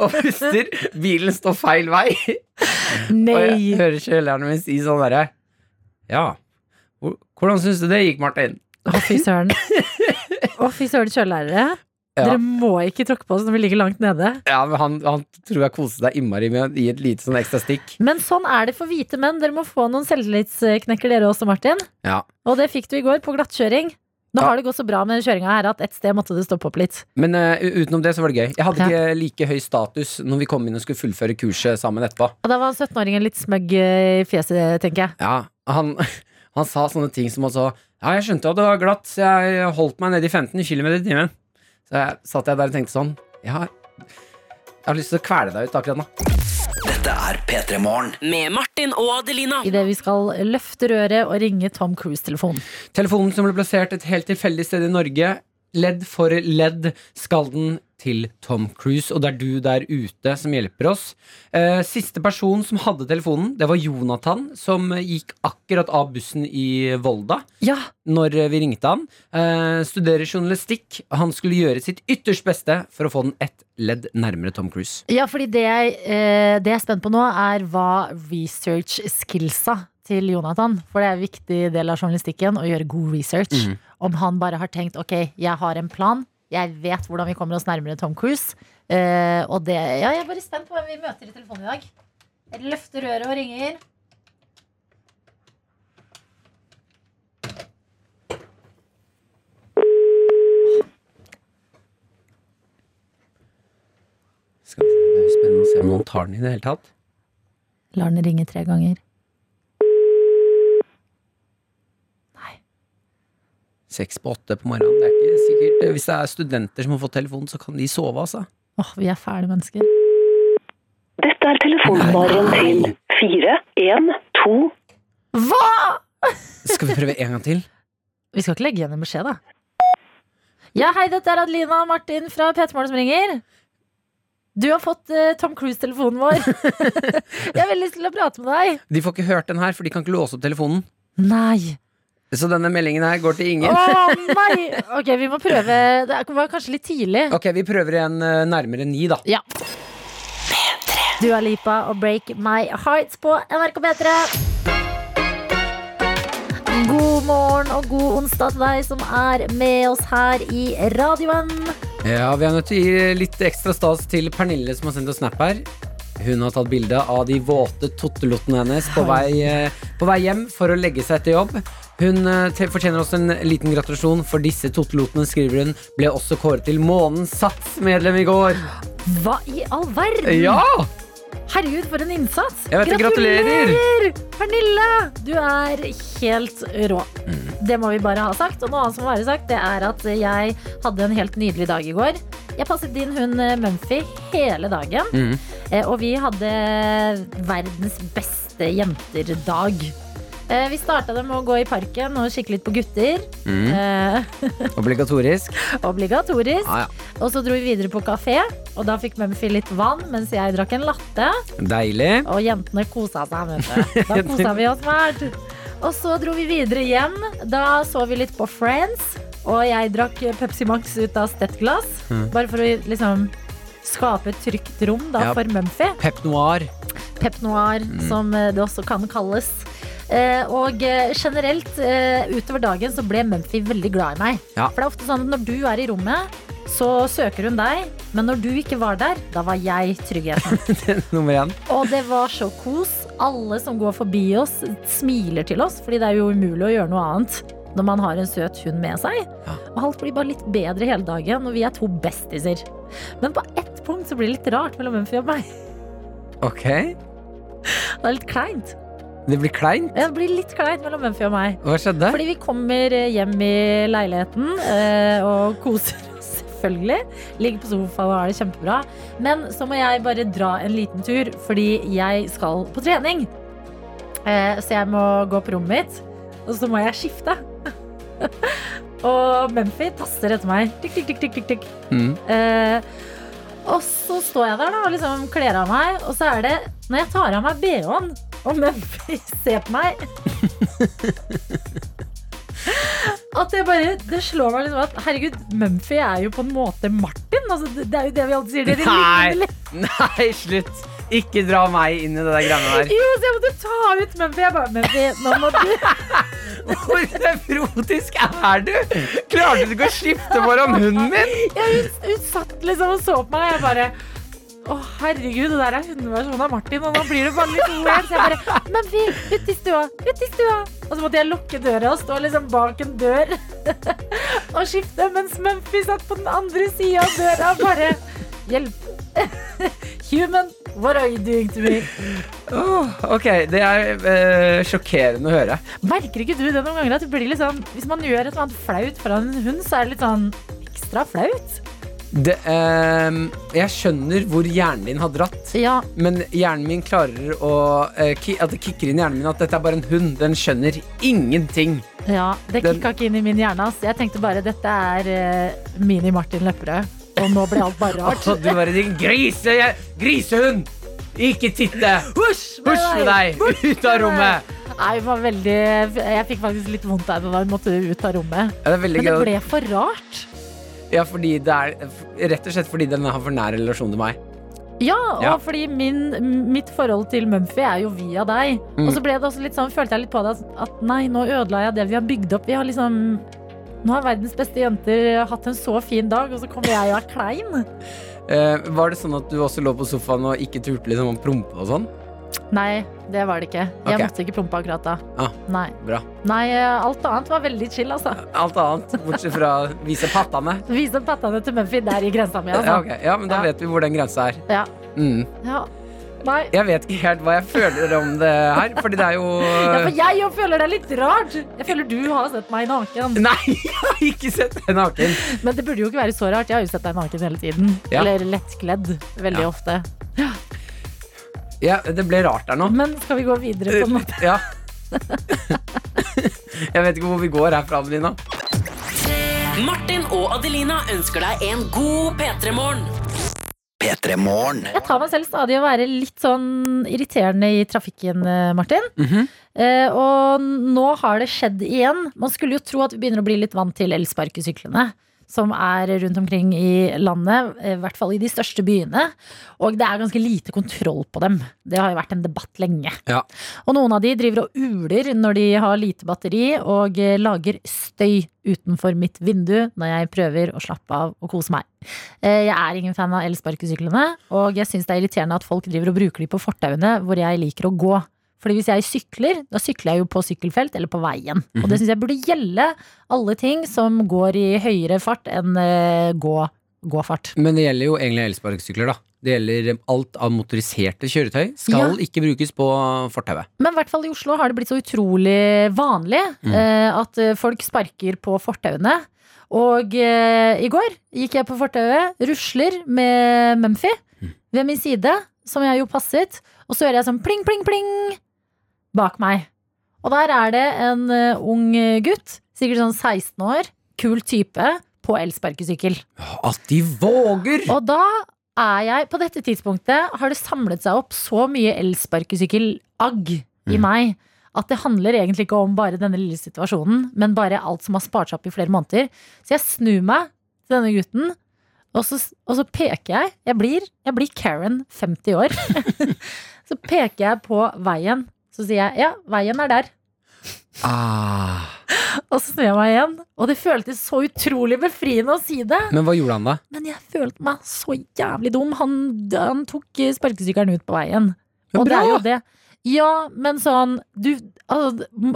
Og puster. Bilen står feil vei. Og jeg Nei! hører kjøleren min si sånn derre Ja, hvor- hvordan syns du det gikk, Martin? Å, fy søren. Å, fy søren, kjørelærere. Ja. Dere må ikke tråkke på oss når vi ligger langt nede. Ja, men han, han tror jeg koste deg innmari med å gi et lite sånn ekstra stikk. Men sånn er det for hvite menn. Dere må få noen selvtillitsknekker, dere også, Martin. Ja. Og det fikk du i går på glattkjøring. Nå Ja. har det gått så bra med kjøringa her at et sted måtte det stoppe opp litt. Men eh, u- utenom det så var det gøy. Jeg hadde Ja. ikke like høy status når vi kom inn og skulle fullføre kurset sammen etterpå. Og da var 17-åringen litt smøgg eh, i fjeset, tenker jeg. Ja, han, han sa sånne ting som altså Ja, jeg skjønte at det var glatt, så jeg holdt meg nede i 15 km i timen. Så jeg, satt jeg der og tenkte sånn Jeg har, jeg har lyst til å kvele deg ut akkurat nå. Dette er P3 Morgen. Med Martin og Adelina. Idet vi skal løfte røret og ringe Tom Cruise-telefonen. Telefonen som ble plassert et helt tilfeldig sted i Norge, ledd for ledd, skal den til Tom Cruise, og det er du der ute som hjelper oss. Eh, siste person som hadde telefonen, det var Jonathan, som gikk akkurat av bussen i Volda Ja, når vi ringte han. Eh, studerer journalistikk. Han skulle gjøre sitt ytterst beste for å få den ett ledd nærmere Tom Cruise. ja fordi det jeg, eh, det jeg er spent på nå, er hva research skillsa til Jonathan. For det er en viktig del av journalistikken å gjøre god research. Om han bare har tenkt ok, jeg har en plan, jeg vet hvordan vi kommer oss nærmere Tom Cruise. Eh, og det Ja, jeg er bare spent på hvem vi møter i telefonen i dag. Jeg løfter røret og ringer. Skal vi se, det er jo spennende å se om han tar den i det hele tatt. Lar den ringe tre ganger. Seks på åtte på morgenen. Det er ikke sikkert. Eh, Hvis det er studenter som har fått telefonen, så kan de sove, altså. Åh, vi er fæle mennesker. Dette er telefonnummeret til 4121. Hva?! Skal vi prøve en gang til? Vi skal ikke legge igjen en beskjed, da. Ja, hei, dette er Adelina og Martin fra P3morgen som ringer. Du har fått eh, Tom Cruise-telefonen vår. jeg har veldig lyst til å prate med deg. De får ikke hørt den her, for de kan ikke låse opp telefonen. Nei. Så denne meldingen her går til Å ingen. nei! Ok, vi må prøve. Det var kanskje litt tidlig. Ok, vi prøver igjen eh, nærmere ni, da. Ja. Dua Lipa og Break My Hearts på NRK P3. God morgen og god onsdag til deg som er med oss her i radioen. Ja, Vi er nødt til å gi litt ekstra stas til Pernille, som har sendt oss snap her. Hun har tatt bilde av de våte tottelottene hennes på vei, eh, på vei hjem for å legge seg etter jobb. Hun eh, te- fortjener også en liten gratulasjon, for disse tottelottene, skriver hun, ble også kåret til månens satsmedlem i går. Hva i all verden? Ja! Herregud, for en innsats! Jeg vet det, gratulerer! Pernille! Du er helt rå. Mm. Det må vi bare ha sagt. Og noe annet som må være sagt, det er at jeg hadde en helt nydelig dag i går. Jeg passet din hund eh, Mumphy hele dagen. Mm. Eh, Og vi hadde verdens beste jenter-dag. Eh, Vi starta det med å gå i parken og kikke litt på gutter. Mm. Eh, Obligatorisk. Obligatorisk. Ja, ja. Og så dro vi videre på kafé, og da fikk Mumphy litt vann mens jeg drakk en latte. Deilig. Og jentene kosa seg, vet du. Da kosa vi oss fælt. Og så dro vi videre hjem. Da så vi litt på Friends. Og jeg drakk Pepsi Max ut av stettglass. Mm. Bare for å liksom skape et trygt rom da, Ja. Mm. for Mumphy. Pep noir. Pep noir, som eh, det også kan kalles. Eh, og eh, generelt eh, utover dagen så ble Mumphy veldig glad i meg. Ja. For det er ofte sånn at når du er i rommet, så søker hun deg. Men når du ikke var der, da var jeg tryggheten. Nummer én. Og det var så kos. Alle som går forbi oss, smiler til oss, fordi det er jo umulig å gjøre noe annet når man har en søt hund med seg. Og alt blir bare litt bedre hele dagen, og vi er to bestiser. Men på ett punkt så blir det litt rart mellom Mumphy og meg. Ok. Det er litt kleint. Det blir kleint. Ja, Det blir litt kleint mellom Mumphy og meg. Hva skjedde? Fordi vi kommer eh, hjem i leiligheten eh, og koser oss selvfølgelig. Ligger på sofaen og har det kjempebra. Men så må jeg bare dra en liten tur, fordi jeg skal på trening. Eh, så jeg må gå på rommet mitt, og så må jeg skifte. Og Mumphy tasser etter meg. Tikk, tikk, tikk, tikk, tikk, tikk. Mm. Eh, og så står jeg der da, og liksom kler av meg, og så er det når jeg tar av meg BH-en, og Mumphy ser på meg At jeg bare, Det slår meg liksom at herregud, Mumphy er jo på en måte Martin. Altså, det det er jo det vi alltid sier. Det Nei. ligner litt. Nei, slutt! Ikke dra meg inn i det der greiene der. Jo, så jeg måtte ta ut Mumphy. Jeg bare, Mumphy, nå må du Hvor nevrotisk er du? Klarte du ikke å skifte foran hunden min? ja, hun, hun satt liksom og så på meg, og jeg bare å, herregud, det der er hundeversjonen av Martin, og nå blir det bare litt weird. Så jeg bare Men vi, ut i stua! Ut i stua! Og så måtte jeg lukke døra og stå liksom bak en dør og skifte, mens Mumphy satt på den andre sida av døra og bare Hjelp! Human, what are you doing to me? Åh, ok, det er eh, sjokkerende å høre. Merker ikke du det noen ganger? At det blir litt sånn Hvis man gjør et eller annet flaut foran en hund, så er det litt sånn ekstra flaut. Det, ehm, jeg skjønner hvor hjernen din har dratt. Ja, Men hjernen min klarer å eh, ki At det kicker inn i hjernen min at dette er bare en hund. Den skjønner ingenting. Ja, det Den- kicka ikke inn i min hjerne. Ass. Jeg tenkte bare dette er eh, mini-Martin Lepperød. Og nå ble alt bare rart. Og du bare din grise, grisehund! Ikke titte! Husj med deg! Ut av rommet! Nei, det var veldig, jeg fikk faktisk litt vondt av det da hun måtte ut av rommet. Ja, det er veldig Men det gøy. ble for rart. Ja, fordi det er, rett og slett fordi den har for nær relasjon til meg. Ja, og Ja. fordi min, mitt forhold til Mumphy er jo via deg. Mm. Og så ble det også litt sånn, følte jeg litt på det at- at nei, nå ødela jeg det vi har bygd opp. Vi har liksom Nå har verdens beste jenter hatt en så fin dag, og så kommer jeg og er klein. Eh, var det sånn at du også lå på sofaen og ikke turte liksom å prompe og sånn? Nei, det var det ikke. Jeg Ok. måtte ikke prompe akkurat da. Ah. Nei. Bra. Nei, alt annet var veldig chill, altså. Alt annet, bortsett fra å vise pattene. Vise pattene til Mumphy der i grensa mi, altså. Ja, ok. ja, men da Ja. vet vi hvor den grensa er. Ja. Mm. ja. Nei. Jeg vet ikke helt hva jeg føler om det her, fordi det er Ja, for jo jeg jo føler det er litt rart. Jeg føler du har sett meg naken. Nei, jeg har ikke sett deg naken. Men det burde jo ikke være så rart. Jeg har jo sett deg naken hele tiden. Ja. Eller lettkledd. Veldig Ja. ofte. Ja, det ble rart der nå. Men skal vi gå videre på Eh, en måte? Ja. Jeg vet ikke hvor vi går herfra, Adelina. Martin og Adelina ønsker deg en god P3-morgen. P3 Morgen. Jeg tar meg selv stadig å være litt sånn irriterende i trafikken, eh, Martin. eh, og nå har det skjedd igjen. Man skulle jo tro at vi begynner å bli litt vant til elsparkesyklene. Som er rundt omkring i landet, eh, i hvert fall i de største byene. Og det er ganske lite kontroll på dem. Det har jo vært en debatt lenge. Ja. Og noen av de driver og uler når de har lite batteri, og eh, lager støy utenfor mitt vindu når jeg prøver å slappe av og kose meg. Eh, Jeg er ingen fan av elsparkesyklene, og jeg syns det er irriterende at folk driver og bruker de på fortauene hvor jeg liker å gå. Fordi hvis jeg sykler, da sykler jeg jo på sykkelfelt eller på veien. Og det syns jeg burde gjelde alle ting som går i høyere fart enn eh, gå, gåfart. Men det gjelder jo egentlig elsparkesykler, da. Det gjelder alt av motoriserte kjøretøy. Skal ikke brukes på fortauet. Men i hvert fall i Oslo har det blitt så utrolig vanlig eh, at eh, folk sparker på fortauene. Og eh, i går gikk jeg på fortauet, rusler med Mumphy ved min side, som jeg jo passet, og så hører jeg sånn pling, pling, pling bak meg. Og der er det en eh, ung gutt, sikkert sånn 16 år, kul type, på elsparkesykkel. At de våger! Og da er jeg På dette tidspunktet har det samlet seg opp så mye elsparkesykkel-agg i meg at det handler egentlig ikke om bare denne lille situasjonen, men bare alt som har spart seg opp i flere måneder. Så jeg snur meg til denne gutten, og så, og så peker jeg. Jeg blir, jeg blir Karen, 50 år. så peker jeg på veien. Så sier jeg ja, veien er der. Ah. Og så snur jeg meg igjen. Og det føltes så utrolig befriende å si det. Men hva gjorde han da? Men jeg følte meg så jævlig dum. Han, han tok eh, sparkesykkelen ut på veien. Men Og det bra! er jo det. Ja, men sånn Du altså, m-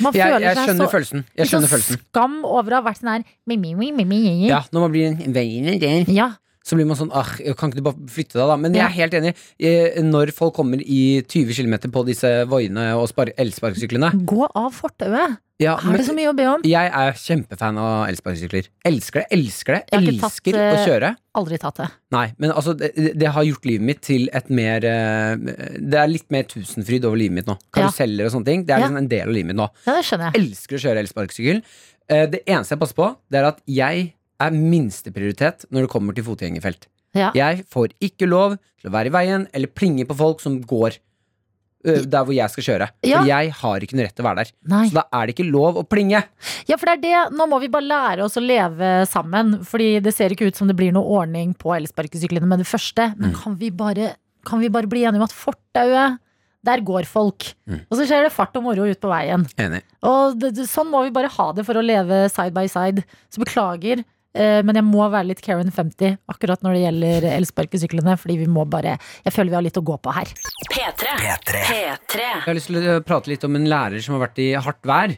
Man Jeg, føler jeg seg skjønner så følelsen. Jeg litt sånn skjønner følelsen. skam over å ha vært sånn her mi, mi, mi, mi, mi, mi. Ja, når man blir en veiner der, ja. så blir man sånn ah, Kan ikke du bare flytte deg, da? Men jeg Ja. er helt enig. Eh, Når folk kommer i 20 km på disse voiene og spar- elsparkesyklene Gå av fortauet. Ja, Er det så mye å be om? jeg er kjempefan av elsparkesykler. Elsker det, elsker det. Jeg har ikke Elsker tatt, å eh, kjøre. Aldri tatt det. Nei, men altså, det, det har gjort livet mitt til et mer eh, Det er litt mer tusenfryd over livet mitt nå. Ja. Karuseller og sånne ting. Det er Ja. liksom en del av livet mitt nå. Ja, det skjønner jeg. Elsker å kjøre elsparkesykkel. Eh, Det eneste jeg passer på, det er at jeg er minsteprioritet når det kommer til fotgjengerfelt. Ja. Jeg får ikke lov til å være i veien eller plinge på folk som går ø, der hvor jeg skal kjøre. Ja. For jeg har ikke noe rett til å være der. Nei. Så da er det ikke lov å plinge. Ja, for det er det. Nå må vi bare lære oss å leve sammen. Fordi det ser ikke ut som det blir noe ordning på elsparkesyklene med det første. Men kan vi bare, kan vi bare bli enige om at fortauet, der går folk. Og så skjer det fart og moro ut på veien. Enig. Og det, det, sånn må vi bare ha det for å leve side by side. Så beklager, eh, men jeg må være litt Karen 50 akkurat når det gjelder elsparkesyklene. Fordi vi må bare Jeg føler vi har litt å gå på her. P3. P3. P3. Jeg har lyst til å eh, prate litt om en lærer som har vært i hardt vær.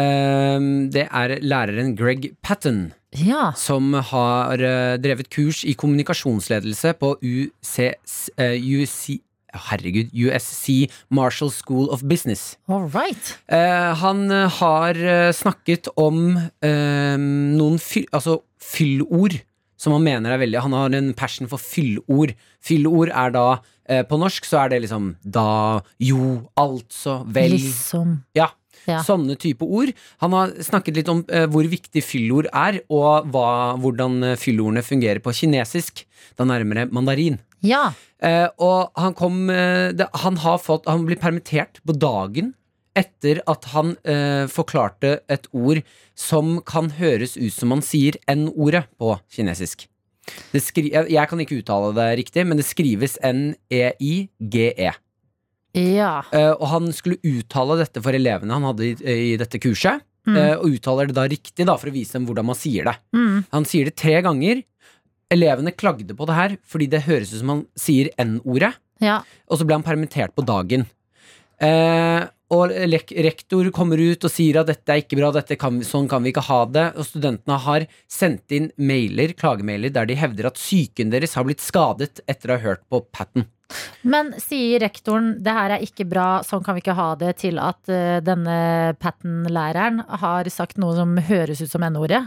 Ehm, Det er læreren Greg Patten, Ja. som har ø, drevet kurs i kommunikasjonsledelse på UCS, ø, UC, eh, herregud, USC Marshall School of Business. All right. Eh, han eh, har eh, snakket om eh, noen fyll, altså, fyllord som han mener er veldig Han har en passion for fyllord. Fyllord er da eh, På norsk så er det liksom da, jo, altså, vel Liksom. Ja. Ja. Sånne type ord. Han har snakket litt om eh, hvor viktig fyllord er, og hva, hvordan eh, fyllordene fungerer på kinesisk. Da nærmere mandarin. Ja. Eh, og han kom eh, det, Han har fått Han blir permittert på dagen etter at han eh, forklarte et ord som kan høres ut som man sier N-ordet på kinesisk. Det skri jeg, jeg kan ikke uttale det riktig, men det skrives E N-E-I-G-E. Ja. Eh, og han skulle uttale dette for elevene han hadde i, i dette kurset. eh, og uttaler det da riktig, da, for å vise dem hvordan man sier det. Mm. Han sier det tre ganger. Elevene klagde på det her fordi det høres ut som han sier N-ordet. Ja. Og så ble han permittert på dagen. Eh, og lek- rektor kommer ut og sier at dette er ikke bra, dette kan, vi- sånn kan vi ikke ha det. Og studentene har sendt inn mailer, klagemailer der de hevder at psyken deres har blitt skadet etter å ha hørt på Patten. Men sier rektoren det her er ikke bra, sånn kan vi ikke ha det, til at eh, denne Patten-læreren har sagt noe som høres ut som N-ordet?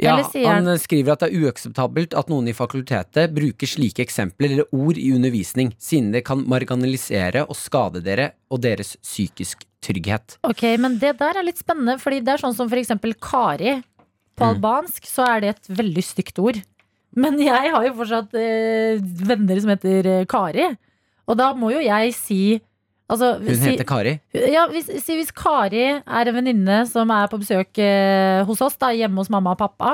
Ja, Eller sier han eh, skriver at det er uakseptabelt at noen i fakultetet bruker slike eksempler eller ord i undervisning, siden det kan marginalisere og skade dere og deres psykisk trygghet. Ok, men det der er litt spennende, fordi det er sånn som for eksempel Kari. På Mm. albansk så er det et veldig stygt ord. Men jeg har jo fortsatt eh, venner som heter eh, Kari. Og da må jo jeg si altså, Hun si, heter Kari. Ja, hvis, si hvis Kari er en venninne som er på besøk eh, hos oss, da, hjemme hos mamma og pappa,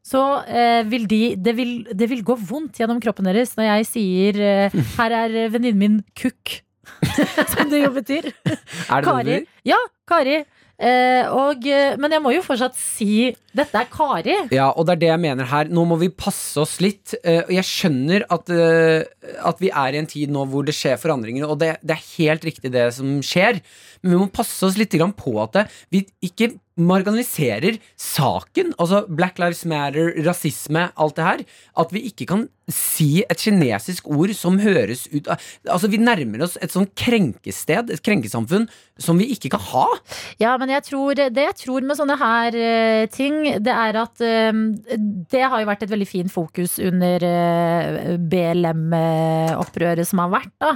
så eh, vil de det vil, det vil gå vondt gjennom kroppen deres når jeg sier eh, 'her er venninnen min kukk'. som det jo betyr. Er det Kari. Kari? Ja, Kari. Eh, og, eh, men jeg må jo fortsatt si 'dette er Kari'. Ja, og det er det jeg mener her. Nå må vi passe oss litt. Eh, og jeg skjønner at, eh, at vi er i en tid nå hvor det skjer forandringer, og det, det er helt riktig det som skjer, men vi må passe oss litt grann på at det, vi ikke marginaliserer saken, altså Black Lives Matter, rasisme, alt det her, at vi ikke kan si et kinesisk ord som høres ut av Altså, vi nærmer oss et sånn krenkested, et krenkesamfunn, som vi ikke kan ha. Ja, men jeg tror, det jeg tror med sånne her eh, ting, det er at eh, det har jo vært et veldig fint fokus under eh, BLM-opprøret som har vært, da.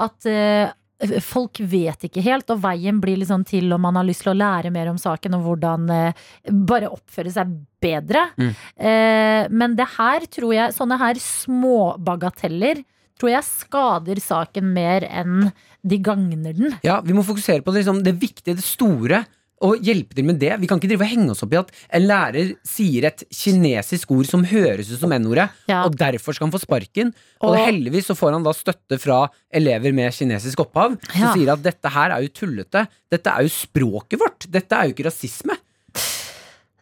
At eh, folk vet ikke helt, og veien blir litt sånn til om man har lyst til å lære mer om saken, og hvordan eh, bare oppføre seg bedre. Mm. Eh, men det her tror jeg, sånne her småbagateller, tror jeg skader saken mer enn de gagner den. Ja, vi må fokusere på det, liksom, det viktige, det store, og hjelpe til med det. Vi kan ikke drive og henge oss opp i at en lærer sier et kinesisk ord som høres ut som N-ordet, Ja. og derfor skal han få sparken. Og, Og- heldigvis så får han da støtte fra elever med kinesisk opphav, som Ja. sier at dette her er jo tullete, dette er jo språket vårt, dette er jo ikke rasisme.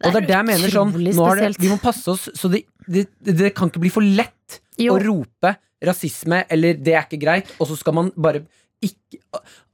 Og det er det jeg mener sånn, utrolig nå er det, spesielt. vi må passe oss, så det, det, det kan ikke bli for lett Jo. å rope rasisme, eller det er ikke greit, og så skal man bare ikke,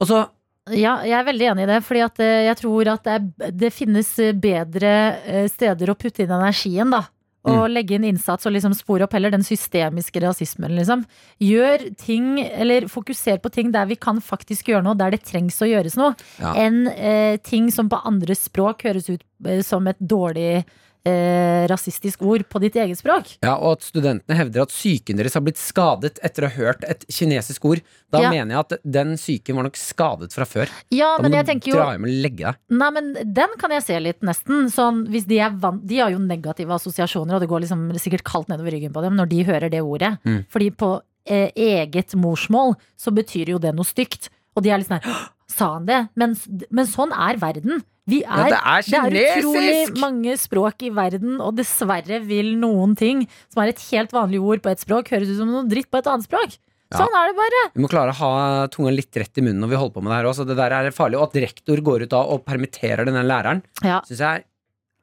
og så... Ja, jeg er veldig enig i det. Fordi at eh, jeg tror at det, er, det finnes eh, bedre eh, steder å putte inn energien, da. å legge inn innsats og liksom spore opp heller den systemiske rasismen, liksom. Gjør ting, eller fokuser på ting der vi kan faktisk gjøre noe, der det trengs å gjøres noe, Ja. enn eh, ting som på andre språk høres ut eh, som et dårlig eh, rasistisk ord på ditt eget språk. Ja, og at studentene hevder at psyken deres har blitt skadet etter å ha hørt et kinesisk ord. Da Ja. mener jeg at den psyken var nok skadet fra før. Ja, Da men må jeg du tenker jo dra hjem og legge deg. Nei, men den kan jeg se litt, nesten. Sånn, hvis de, er vant, de har jo negative assosiasjoner, og det går liksom sikkert kaldt nedover ryggen på dem når de hører det ordet. Mm. Fordi på eh, eget morsmål så betyr jo det noe stygt. Og de er litt sånn her «Hå! Sa han det? Men, s- men sånn er verden. Vi er, Ja, det er kinesisk! utrolig mange språk i verden, og dessverre vil noen ting som er et helt vanlig ord på et språk, høres ut som noe dritt på et annet språk. Ja. Sånn er det bare. Vi må klare å ha tunga litt rett i munnen når vi holder på med det her også. Det der er farlig. Og at rektor går ut da og permitterer denne læreren, Ja. syns jeg er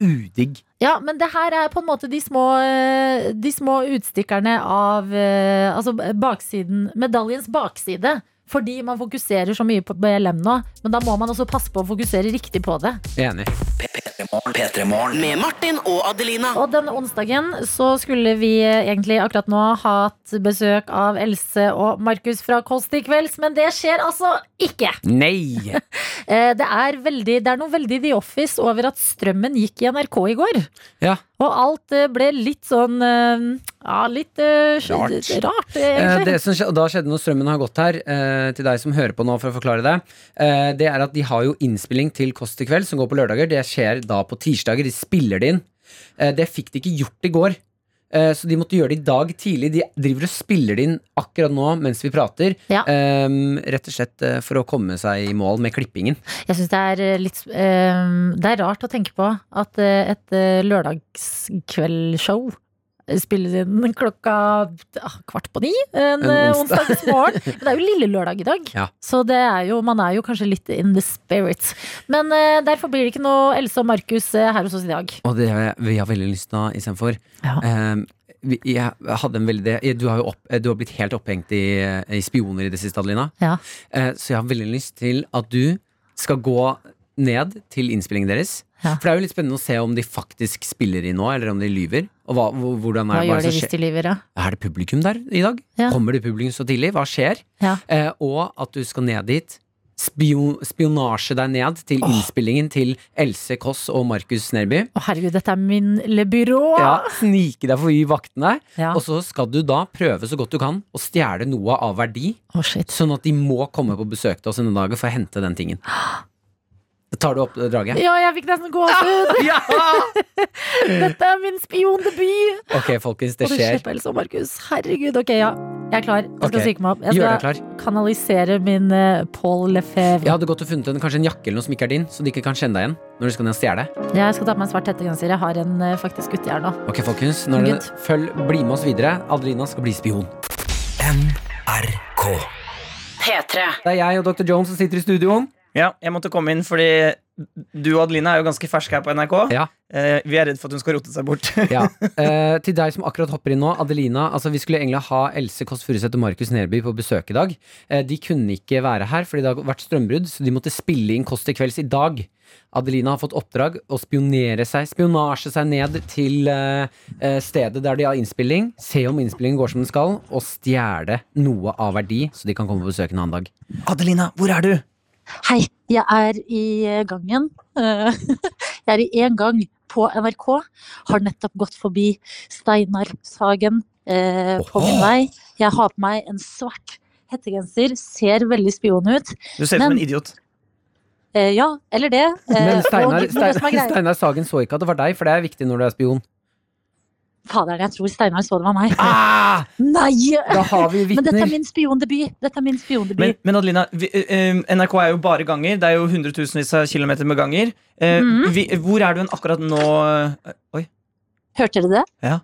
udigg. Ja, men det her er på en måte de små, eh, de små utstikkerne av eh, Altså baksiden Medaljens bakside. Fordi man fokuserer så mye på BLM nå. Men da må man også passe på å fokusere riktig på det. Enig. P3morgen. Med Martin og Adelina. Og denne onsdagen så skulle vi eh, egentlig akkurat nå hatt besøk av Else og Markus fra Kåss til kvelds, men det skjer altså ikke. Nei! Eh, Det er, veldig, det er noe veldig The Office over at strømmen gikk i NRK i går. Ja. Og alt eh, ble litt sånn eh, Ja, litt eh, skj- Rart. rart eh, Eh, egentlig. Det som skje- og da skjedde når strømmen har gått her, eh, til deg som hører på nå for å forklare det, eh, det er at de har jo innspilling til Kåss til kveld, som går på lørdager. Det skjer da på tirsdager. De spiller det inn. Eh, Det fikk de ikke gjort i går. eh, Så de måtte gjøre det i dag tidlig. De driver og spiller det inn akkurat nå mens vi prater. Ja. eh, Rett og slett eh, for å komme seg i mål med klippingen. Jeg syns det er eh, litt eh, Det er rart å tenke på at eh, et eh, lørdagskveldsshow spilles inn klokka ah, kvart på ni en En eh, onsdag. onsdagsmorgen. Men det er jo lille lørdag i dag, Ja. så det er jo, man er jo kanskje litt in the spirit. Men eh, derfor blir det ikke noe Else og Markus eh, her hos oss i dag. Og det vi har veldig lyst til da, istedenfor Ja. Ehm, vi- jeg hadde en veldig, jeg- du, har jo opp, eh, du har blitt helt opphengt i, eh, i spioner i det siste, Adelina. Ja. Eh, så jeg har veldig lyst til at du skal gå ned til innspillingen deres. Ja. For det er jo litt spennende å se om de faktisk spiller inn nå, eller om de lyver. Og hva, hvor- hvordan er, Hva det- hva er gjør det de som hvis de skjer? lyver? Ja? Er det publikum der i dag? Ja. Kommer det publikum så tidlig? Hva skjer? Ja. Eh, og at du skal ned dit. Spio, spionasje deg ned til innspillingen til Else Kåss og Markus Nerby. Å herregud, dette er min le bureau! Ja, snike deg forbi vaktene. Ja. Og så skal du da prøve så godt du kan å stjele noe av verdi, Å, shit. sånn at de må komme på besøk til oss denne dagen for å hente den tingen. Da tar du opp det draget? Ja, jeg fikk nesten gåsehud! Ja! Dette er min spiondebut! Ok, folkens, det Og det skjer. slipper Else og Markus. Herregud. Ok, ja. Jeg er klar. Jeg skal Ok, psyke meg opp. Jeg Gjør deg skal klar. kanalisere min eh, Paul Jeg Lefebvre. hadde gått og funnet en, kanskje en jakke eller noe som ikke er din, så de ikke kan kjenne deg igjen når du skal ned og stjele. Jeg skal ta på meg en svart hettegenser. Jeg har en eh, faktisk uti her nå. Ok, folkens, nå er det, følg, bli med oss videre. Adelina skal bli spion. NRK. P3. Det er jeg og Dr. Jones som sitter i studioen. Ja, jeg måtte komme inn fordi du og Adelina er jo ganske ferske her på NRK. Ja. Eh, vi er redd for at hun skal rote seg bort. Ja. Eh, til deg som akkurat hopper inn nå, Adelina. Altså, vi skulle egentlig ha Else Kåss Furuseth og Markus Nerby på besøk i dag. Eh, de kunne ikke være her fordi det har vært strømbrudd, så de måtte spille inn Kåss til kvelds i dag. Adelina har fått oppdrag å spionere seg, spionasje seg ned til eh, eh, stedet der de har innspilling, se om innspillingen går som den skal, og stjele noe av verdi, så de kan komme på besøk en annen dag. Adelina, hvor er du? Hei, jeg er i eh, gangen. Jeg er i én gang på NRK. Har nettopp gått forbi Steinar Sagen eh, på min vei. Jeg har på meg en svart hettegenser. Ser veldig spion ut. Du ser ut som en idiot. Eh, ja, eller det. Eh, Men Steinar, og, men det som er Steinar, greia, Steinar Sagen så ikke at det var deg, for det er viktig når du er spion. Faderen, jeg tror Steinar så det var meg. Ah, Nei! da har vi Men dette er vitner! min spiondebut. Dette er min Men, spiondebut. men Adelina, vi, eh, eh, NRK er jo bare ganger. Det er jo hundretusenvis av kilometer med ganger. Eh, Mhm. vi, hvor er du en akkurat nå? eh, Oi. Hørte dere det? Ja.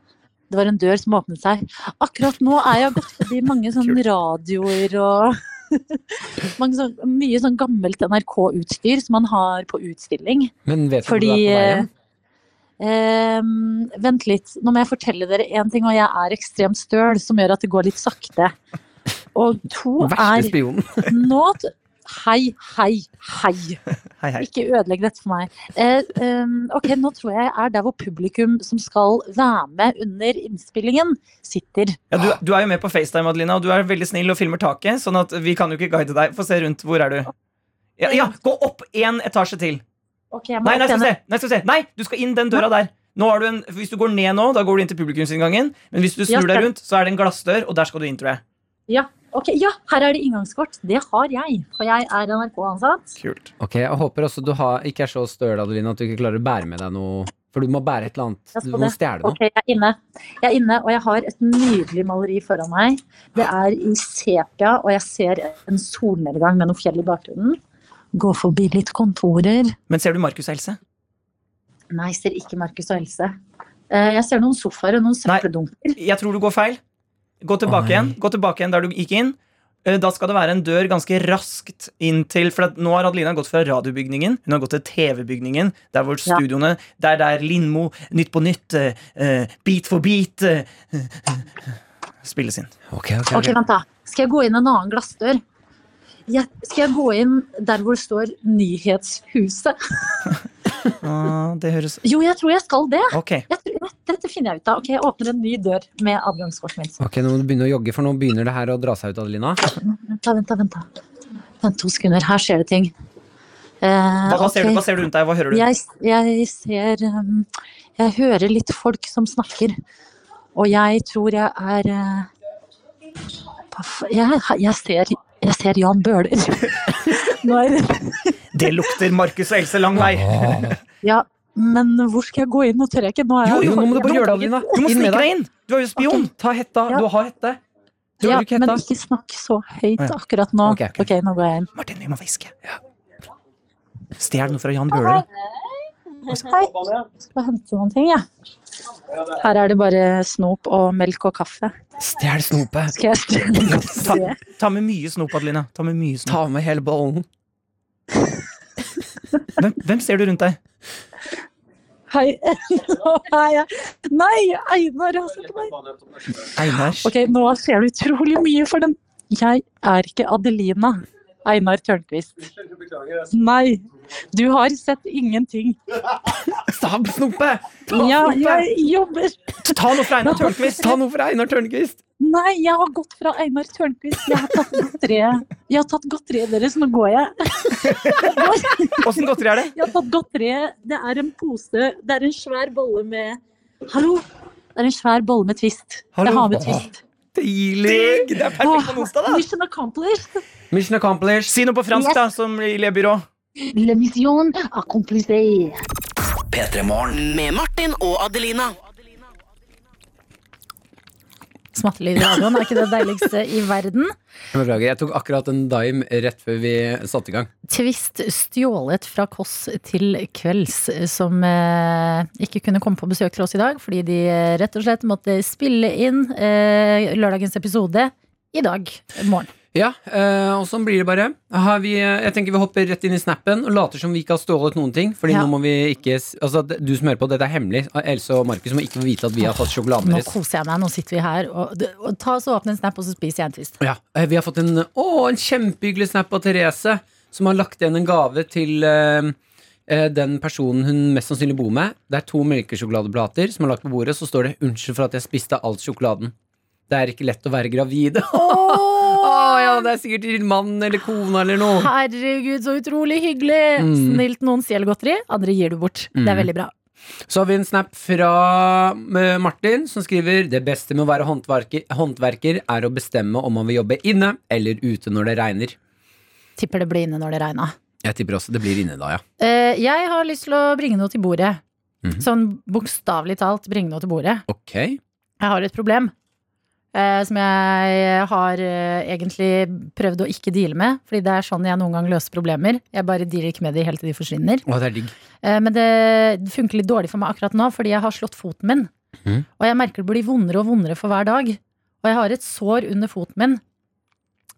Det var en dør som åpnet seg. Akkurat nå er jeg gått forbi mange sånne radioer og mange sånn, Mye sånn gammelt NRK-utstyr som man har på utstilling. Men vet du hvor du Fordi eh, er på vei hjem? ehm, Vent litt. Nå må jeg fortelle dere én ting, og jeg er ekstremt støl, som gjør at det går litt sakte. Og to Den er verste spionen. nå, Hei, hei, hei. Hei, hei. Ikke ødelegg dette for meg. Eh, em, ok, Nå tror jeg jeg er der hvor publikum som skal være med under innspillingen, sitter. Ja, du, du er jo med på FaceTime, Adelina, og du er veldig snill og filmer taket. Sånn at vi kan jo ikke guide deg. Få se rundt. Hvor er du? Ja, ja gå opp én etasje til. Ok, jeg må Nei, nei, opp skal vi igjen. se. nei, skal vi se. nei, du skal inn den døra der. Nå har du en, hvis du går ned nå, da går du inn til publikumsinngangen. Men hvis du Ja, snur deg stemmer. rundt, så er det en glassdør, og der skal du inn, tror jeg. Ja, ok, ja, her er det inngangskort. Det har jeg, for jeg er NRK-ansatt. Kult. Ok, Jeg håper også du har, ikke er så støl, Adeline, at du ikke klarer å bære med deg noe. For du må bære et eller Jeg annet. Du skal må det. stjele noe. Ok, jeg er inne. Jeg er inne, og jeg har et nydelig maleri foran meg. Det er i sepia, og jeg ser en solnedgang med noen fjell i bakgrunnen. Gå forbi litt kontorer. Men ser du Markus og Else? Nei, ser ikke Markus og Else. Eh, Jeg ser noen sofaer og noen søppeldunker. Jeg tror du går feil. Gå tilbake igjen Gå tilbake igjen der du gikk inn. Eh, Da skal det være en dør ganske raskt inn til For at nå har Adelina gått fra radiobygningen Hun har gått til TV-bygningen. Der hvor Ja. studioene Der det er Lindmo, Nytt på Nytt, eh, eh, Beat for beat eh, Spilles inn. Ok, ok, Ok, vent da. Skal jeg gå inn en annen glassdør? Jeg, skal jeg gå inn der hvor det står Nyhetshuset? Ah, det høres Jo, jeg tror jeg skal det. Ok. Jeg tror, dette finner jeg ut av. Ok, Jeg åpner en ny dør med adgangskortet mitt. Ok, Nå må du begynne å jogge, for nå begynner det her å dra seg ut, Adelina. Vent, da, vent, da, vent. da. Vent to sekunder. Her skjer det ting. Eh, Hva, hva, ser du, ok. hva ser du rundt deg? Hva hører du? Jeg, jeg ser um, Jeg hører litt folk som snakker. Og jeg tror jeg er eh, paff- jeg, jeg, ser, jeg ser Jan Bøhler. Når Det lukter Markus og Else lang vei. Ja, men hvor skal jeg gå inn? Nå tør jeg ikke. Nå er Jo, jeg jo, nå må du bare gjøre det, Adelina. Du må Inn med snike deg deg. inn! Du er jo spion. Ta hetta. Ja. Du har hette. Du Ja, har ikke men hetta. ikke snakk så høyt Å, ja. akkurat nå. Ok, ok. ok, nå går jeg inn. Martin, vi må hviske. Stjel noe fra Jan Bøhler. Hei. Skal hente noen ting, jeg. Ja. Her er det bare snop og melk og kaffe. Stjel snopet. Skal jeg Ta, ta med mye snop, Adelina. Ta med mye snop. Ta med hele bollen. Hvem, hvem ser du rundt deg? Hei, nå er jeg Nei, Einar har sett meg! Einar. Ok, nå ser du utrolig mye for den Jeg er ikke Adelina. Einar Tørnquist. Nei, du har sett ingenting. Stab snopet! Ja, jeg jobber Ta noe fra Einar Tørnquist. Ta noe fra Einar Tørnquist. Nei, jeg har gått fra Einar Tørnquist. Jeg har tatt godteriet Jeg har tatt godteriet deres, nå går jeg. Åssen godteri er det? Jeg har tatt godteriet. Det er en pose Det er en svær bolle med Hallo! Det er en svær bolle med Twist. Jeg har med Twist. Deilig! Det er perfekt på en onsdag, da. Mission accomplished. Mission accomplished. Si noe på fransk, da, som i Le Byrå. La mission accomplished. P3 Morgen. Med Martin og Adelina. Smattelyd i radioen, er ikke det deiligste i verden? Beklager, jeg tok akkurat en dime rett før vi satte i gang. Twist stjålet fra Kåss til kvelds, som eh, ikke kunne komme på besøk til oss i dag, fordi de eh, rett og slett måtte spille inn eh, lørdagens episode i dag morgen. Ja, eh, og sånn blir det bare. Har vi, eh, jeg tenker vi hopper rett inn i snappen og later som vi ikke har stjålet noen ting. Fordi Ja. nå må vi ikke s- Altså, d- du som hører på, dette er hemmelig. Eh, Else og Markus må ikke få vite at vi har tatt sjokoladen Nå deres. koser jeg meg, nå sitter vi her. Og, d- og ta så åpne en snap, og så spiser jeg en Twist. Ja, eh, Vi har fått en, å, en kjempehyggelig snap av Therese, som har lagt igjen en gave til eh, eh, den personen hun mest sannsynlig bor med. Det er to melkesjokoladeplater som er lagt på bordet, så står det 'Unnskyld for at jeg spiste all sjokoladen'. Det er ikke lett å være gravid. Å, ja, det er sikkert din mann eller kona eller noe. Herregud, så utrolig hyggelig! Mm. Snilt noen stjeler godteri, andre gir du bort. Det er veldig bra. Så har vi en snap fra eh, Martin, som skriver 'Det beste med å være håndverker, håndverker er å bestemme om man vil jobbe inne eller ute når det regner'. Tipper det blir inne når det regner. Jeg tipper også det blir inne da, ja. Eh, jeg har lyst til å bringe noe til bordet. Mhm. Sånn bokstavelig talt bringe noe til bordet. Ok. Jeg har et problem eh, som jeg har eh, egentlig prøvd å ikke deale med. Fordi det er sånn jeg noen gang løser problemer. Jeg bare dealer ikke med de helt til de forsvinner. Å, det er digg. Eh, men det funker litt dårlig for meg akkurat nå, fordi jeg har slått foten min. Mhm. Og jeg merker det blir vondere og vondere for hver dag. Og jeg har et sår under foten min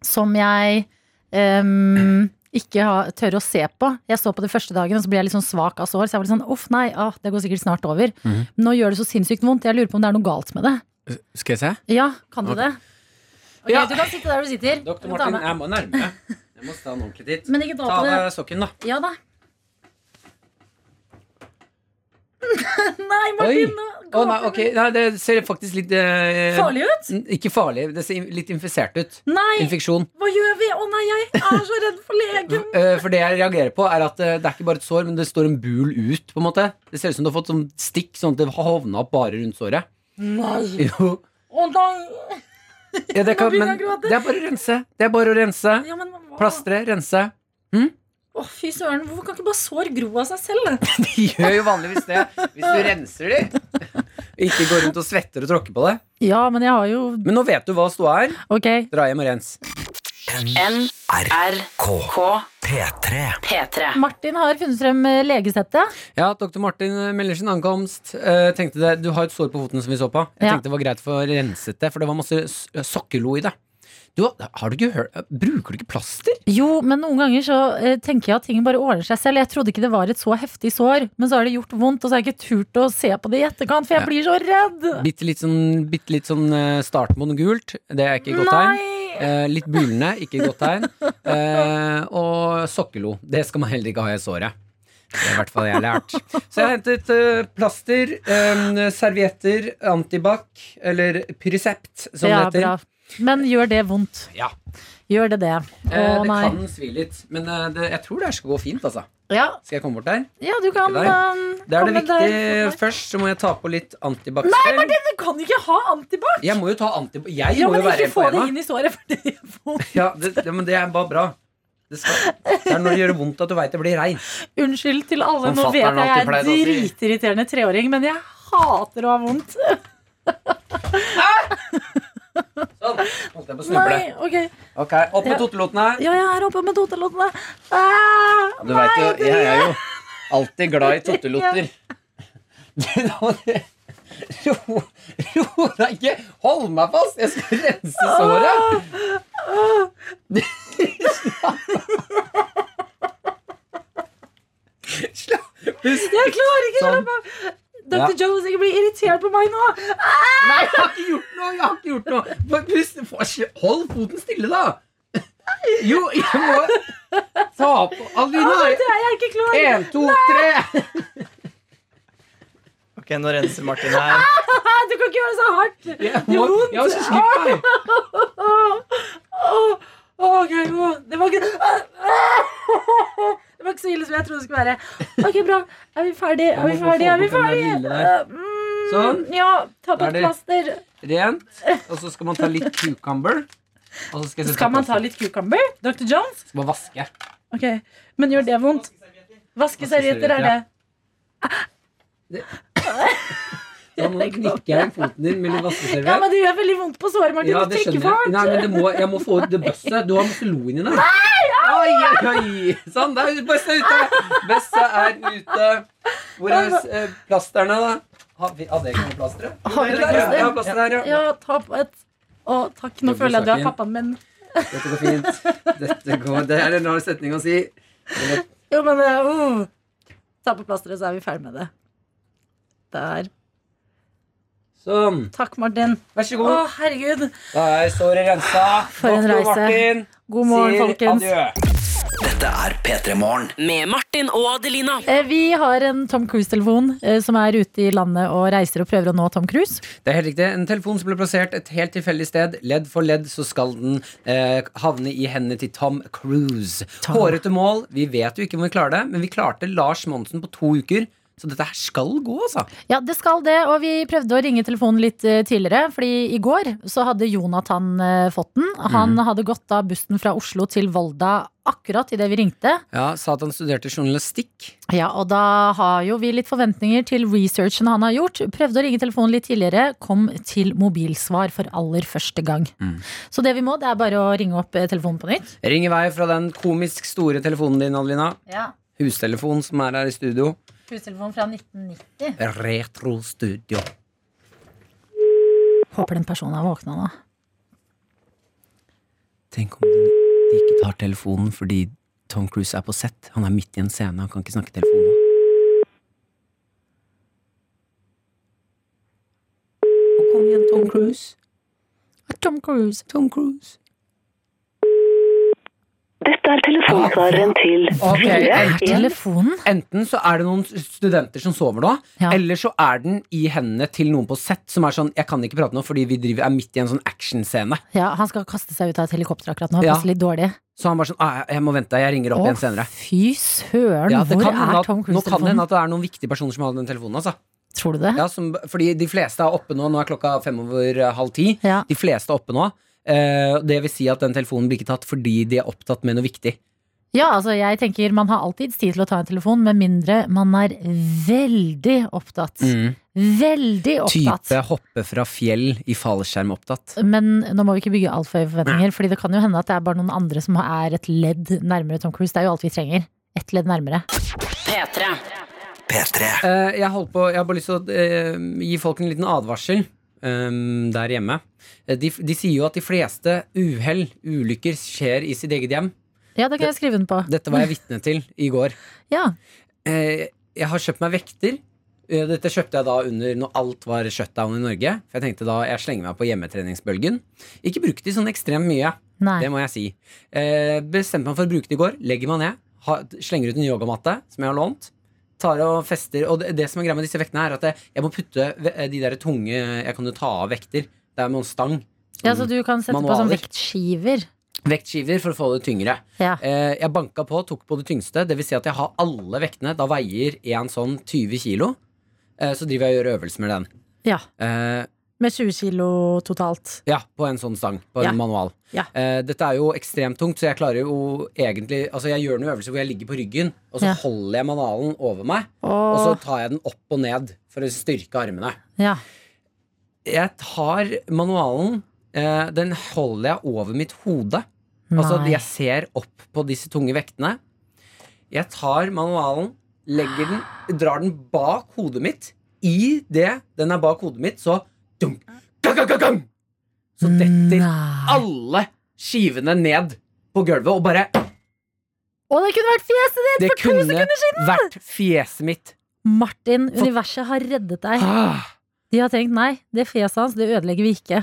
som jeg ehm, ikke har, tør å se på. Jeg så på det første dagen, og så ble jeg litt sånn svak av sår. Så jeg var litt sånn uff, nei, ah, det går sikkert snart over. Mhm. Nå gjør det så sinnssykt vondt. Jeg lurer på om det er noe galt med det. Skal jeg se? Ja, kan du Ok. det? Ok, Ja. Du kan sitte der du sitter. Doktor Du kan ta med- Martin, jeg må nærme meg. Jeg må stå den ordentlig dit. Men ikke da Ta på av det- deg sokken, da. Ja da. Nei, Martin! nå- Å, nei, ok. nei, det ser faktisk litt eh, Farlig ut? n- Ikke farlig. Det ser litt infisert ut. Nei. Infeksjon. Hva gjør vi? Å nei, jeg er så redd for legen! Eh, for det jeg reagerer på, er at eh, det er ikke bare et sår, men det står en bul ut. på en måte Det ser ut som du har fått sånn stikk, sånn at det har hovna opp bare rundt såret. Nei! Jo. Å nei! Ja, det, Nå kan, begynner men, jeg å gråte. det er bare å rense. Det er bare å rense. Ja, men hva? Plastre, rense. Å, fy søren, hvorfor kan ikke bare sår gro av seg selv? De gjør jo vanligvis det hvis du renser de. Ikke går rundt og svetter og tråkker på det. Ja, men jeg har jo Men nå vet du hva ståa er. Ok. Dra hjem og rens. NRK P3. P3. Martin har funnet frem eh, legesettet. Ja, Dr. Martin eh, melder sin ankomst. Eh, tenkte det, Du har et sår på foten som vi så på. Jeg Ja. tenkte det var greit for å renset det, for det var masse s- sokkelo i det. Du, har- har du ikke hørt Bruker du ikke plaster? Jo, men noen ganger så eh, tenker jeg at ting bare ordner seg selv. Jeg trodde ikke det var et så heftig sår, men så har det gjort vondt, og så har jeg ikke turt å se på det i etterkant, for jeg Ja. blir så redd. Bitte litt sånn, bitte litt sånn eh, startmoen gult. Det er ikke et godt tegn. Nei! Eh, litt bulende, ikke et godt tegn. Eh, og sokkelo. Det skal man heller ikke ha i såret. Det er i hvert fall jeg har lært. Så jeg har hentet eh, plaster, eh, servietter, antibac, eller Pyrisept, som Ja, det heter. bra. Men gjør det vondt? Ja. Gjør det det? Å Eh, det nei. kan svi litt, men eh, det, jeg tror det her skal gå fint. altså Ja, Skal jeg komme bort der? ja, du kan Ikke der. um, Det er det komme viktige der. først, så må jeg ta på litt antibac selv. Du kan ikke ha antibac! Jeg må jo ta antibac. Jeg Ja, må men jo være ikke en på få det ena. inn i såret, for det gjør vondt. Ja, det, det, men det er bare bra. Det, skal, det er når det gjør vondt at du veit det blir regn. Unnskyld til alle, Som nå vet fatteren jeg jeg er alltid pleide å si. dritirriterende treåring, men jeg hater å ha vondt. Sånn. Holdt jeg på å snuble. Nei, ok. Ok, Opp med Ja. totelotene. Ja, jeg er oppe med totelåtene. Ah, Du veit jo, jeg er jo alltid glad i totelotter. Du, da må du Ro ro deg ikke! Hold meg fast! Jeg skal rense såret! Slapp av. Pust. jeg klarer ikke Sånn. slapp av. Dr. Ja. Jones ikke blir irritert på meg nå. Nei, jeg har ikke gjort noe! Jeg har ikke gjort noe Bare pust. Få- sl- Hold foten stille, da! Jo, jeg må ta på Ah, Alina! det er jeg ikke klar. Én, to, tre! Ok, Nå renser Martin her. Ah, du kan ikke gjøre det så hardt. Jeg Det må, gjør vondt. jeg må slippe meg! Åh, åh, ok, åh, det var ikke ah, ah. Det var ikke så ille som jeg trodde det skulle være. Ok, bra. Er vi ferdig? Er vi må få ferdig? Er vi bort den der ferdig? lille der. Eh, mm, Sånn. Ja, ta på Er et det- plaster. rent, og så skal man ta litt cucumber. Og så skal, jeg Skal man ta litt cucumber? Dr. Jones? Skal man vaske. Ok, Men gjør det vondt? Vaskeservietter er det. Da må du knikke igjen Sånn, foten din mellom Ja, vaskeserviett. men Det gjør veldig vondt på såret, Martin. Ja, du det trykker skjønner jeg. for Nei, hardt. men det må, jeg må få ut det bøsset. Du har masse lo inni deg. Oi, oi, oi. Sånn, da er bøsset ute. Bøsset er ute. Hvor er eh, plasterne, da? Har vi- Hadde jeg ikke noe plaster? Har vi Der, ja. plaster? Jeg har plaster her, ja. Ja, ta på et Å, takk. Nå Dobbeltsaken. føler jeg du er pappaen min. Dette går fint. Dette går. Det er en rar setning å si. Eller- Jo, men eh, uh. Ta på plasteret, så er vi ferdig med det. Der. Sånn. Takk, Martin. Vær så Å, god. herregud. Da er såret rensa. For en Doktor reise. Martin God morgen, sier folkens. adjø. Dette er P3 Morgen. Med Martin og Adelina. Eh, Vi har en Tom Cruise-telefon eh, som er ute i landet og reiser og prøver å nå Tom Cruise. Det er helt riktig. En telefon som ble plassert et helt tilfeldig sted. Ledd for ledd så skal den eh, havne i hendene til Tom Cruise. Hårete mål. Vi vet jo ikke om vi klarer det, men vi klarte Lars Monsen på to uker. Så dette her skal gå, altså. Ja, det skal det, og vi prøvde å ringe telefonen litt eh, tidligere, fordi i går så hadde Jonathan eh, fått den. Han hadde gått av bussen fra Oslo til Volda akkurat idet vi ringte. Ja, Sa at han studerte journalistikk. Ja, og da har jo vi litt forventninger til researchen han har gjort. Prøvde å ringe telefonen litt tidligere, kom til mobilsvar for aller første gang. Mm. Så det vi må, det er bare å ringe opp eh, telefonen på nytt. Ring i vei fra den komisk store telefonen din, Adelina. Ja, Hustelefon som er her i studio. Hustelefon fra 1990. Retro studio. Håper den personen er våkna nå. Tenk om de de ikke tar telefonen fordi Tom Cruise er på sett. Han er midt i en scene, han kan ikke snakke i telefonen. Og kom igjen, Tom Cruise. Tom Cruise. Tom Cruise. Dette er telefonsvareren til Ok, fire en- Telefonen? Enten så er det noen studenter som sover nå, eller så er den i hendene til noen på sett som er sånn Jeg kan ikke prate nå fordi vi driver, er midt i en sånn actionscene. Ja, han skal kaste seg ut av et helikopter akkurat nå. Han Ja. passer litt dårlig. Så han bare sånn ah, Jeg må vente, jeg ringer opp Å, igjen senere. Fy søren, Ja, det hvor kan hende er at, Tom nå kan det hende Cruise-telefonen? at det er noen viktige personer som har den telefonen. Altså. Tror du det? Ja, som, fordi de fleste er oppe nå. Nå er klokka fem over eh, halv ti. Ja. De fleste er oppe nå. Eh, det vil si at den telefonen blir ikke tatt fordi de er opptatt med noe viktig. Ja, altså jeg tenker man har alltid tid til å ta en telefon, med mindre man er veldig opptatt. Veldig opptatt. Mm. Type hoppe fra fjell i fallskjerm opptatt. Men nå må vi ikke bygge altfor høye forventninger, Fordi det kan jo hende at det er bare noen andre som er et ledd nærmere Tom Cruise. Det er jo alt vi trenger. Ett ledd nærmere. P3. Eh, jeg, holdt på, jeg har bare lyst til å eh, gi folk en liten advarsel eh, der hjemme. Eh, De, de sier jo at de fleste uhell, ulykker, skjer i sitt eget hjem. Ja, det kan jeg skrive den på. Dette var jeg vitne til i går. Ja. Eh, jeg har kjøpt meg vekter. Eh, Dette kjøpte jeg da under når alt var shutdown i Norge. For jeg tenkte da jeg slenger meg på hjemmetreningsbølgen. Ikke brukte de sånn ekstremt mye. Nei. Det må jeg si. Eh, bestemte meg for å bruke det i går. Legger meg ned. Ha, slenger ut en yogamatte som jeg har lånt. Tar og fester. Og det, det som er greia med disse vektene, er at jeg, jeg må putte ve- eh, de der tunge Jeg kan jo ta av vekter. Det er med en stang. ja, så du kan sette på sånn Manualer. vektskiver. Vektskiver for å få det tyngre. Ja. Eh, jeg banka på, tok på det tyngste. Det vil si at jeg har alle vektene. Da veier én sånn 20 kilo. Eh, så driver jeg og gjør øvelser med den. Ja. Eh, Med 20 kilo totalt. ja, på en sånn stang. På en Ja. manual. Ja. Eh, dette er jo ekstremt tungt, så jeg klarer jo egentlig Altså, jeg gjør noen øvelser hvor jeg ligger på ryggen, og så Ja. holder jeg manualen over meg, Åh. og så tar jeg den opp og ned for å styrke armene. Ja. Jeg tar manualen, eh, den holder jeg over mitt hode. Altså, Nei. jeg ser opp på disse tunge vektene. Jeg tar manualen, legger den, drar den bak hodet mitt. I det den er bak hodet mitt, så dunk, gang, gang, gang, gang, Så detter alle skivene ned på gulvet og bare Å, det kunne vært fjeset ditt Det for to kunne sekunder siden! vært fjeset mitt. Martin, universet har reddet deg. Ah. De har tenkt nei, det fjeset hans det ødelegger vi ikke.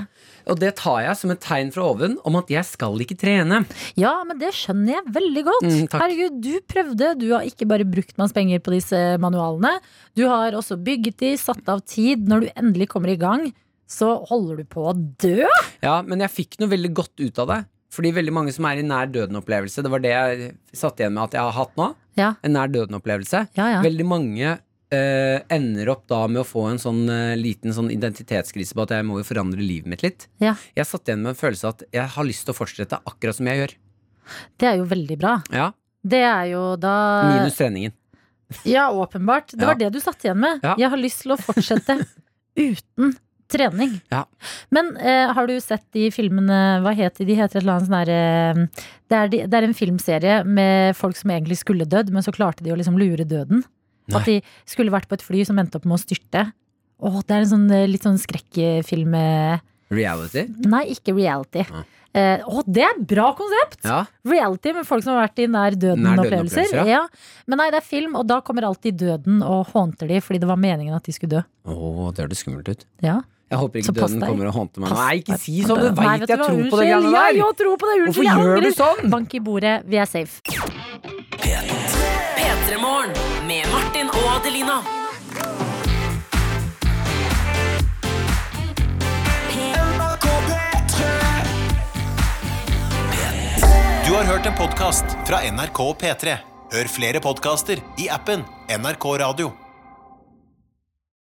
Og det tar jeg som et tegn fra oven om at jeg skal ikke trene. Ja, men det skjønner jeg veldig godt. Mm, takk. Herregud, du prøvde. Du har ikke bare brukt manns penger på disse manualene. Du har også bygget de, satt av tid. Når du endelig kommer i gang, så holder du på å dø. Ja, Men jeg fikk noe veldig godt ut av det. Fordi veldig mange som er i nær døden-opplevelse, det var det jeg satt igjen med at jeg har hatt nå. Ja. En nær døden-opplevelse. Ja, ja. Veldig mange eh, ender opp da med å få en sånn eh, liten sånn identitetskrise på at jeg må jo forandre livet mitt litt. Ja, Jeg satt igjen med en følelse av at jeg har lyst til å fortsette akkurat som jeg gjør. det er jo veldig bra. Ja, Det er jo da Minus treningen. Ja, åpenbart. Det Ja. var det du satt igjen med. Ja. Jeg har lyst til å fortsette uten trening. Ja. Men eh, har du sett de filmene Hva heter de? De heter et eller annet sånn derre det, er de, det er en filmserie med folk som egentlig skulle dødd, men så klarte de å liksom lure døden. At de skulle vært på et fly som endte opp med å styrte. Åh, det er en sånn eh, litt sånn skrekkfilm eh, Reality. Nei, ikke reality. Eh, å, det er et bra konsept! Ja. Reality med folk som har vært i nær Nær døden døden-opplevelser. opplevelser, ja. ja. Men nei, det er film, og da kommer alltid døden og hånter de fordi det var meningen at de skulle dø. Å, det høres skummelt ut. Ja. Jeg håper ikke Så pass døden deg. kommer og håndter meg. Pass Nei, ikke deg si for sånn! døden. Du Nei, veit vet jeg du hva? tror på det Unnskyld, greiene ja, der! jeg tror på det, unnskyld, Hvorfor jeg gjør du angrer. sånn? Bank i bordet, vi er safe. P3 Morgen med Martin og Adelina. Du har hørt en podcast fra NRK P3. Hør flere podcaster i appen NRK Radio.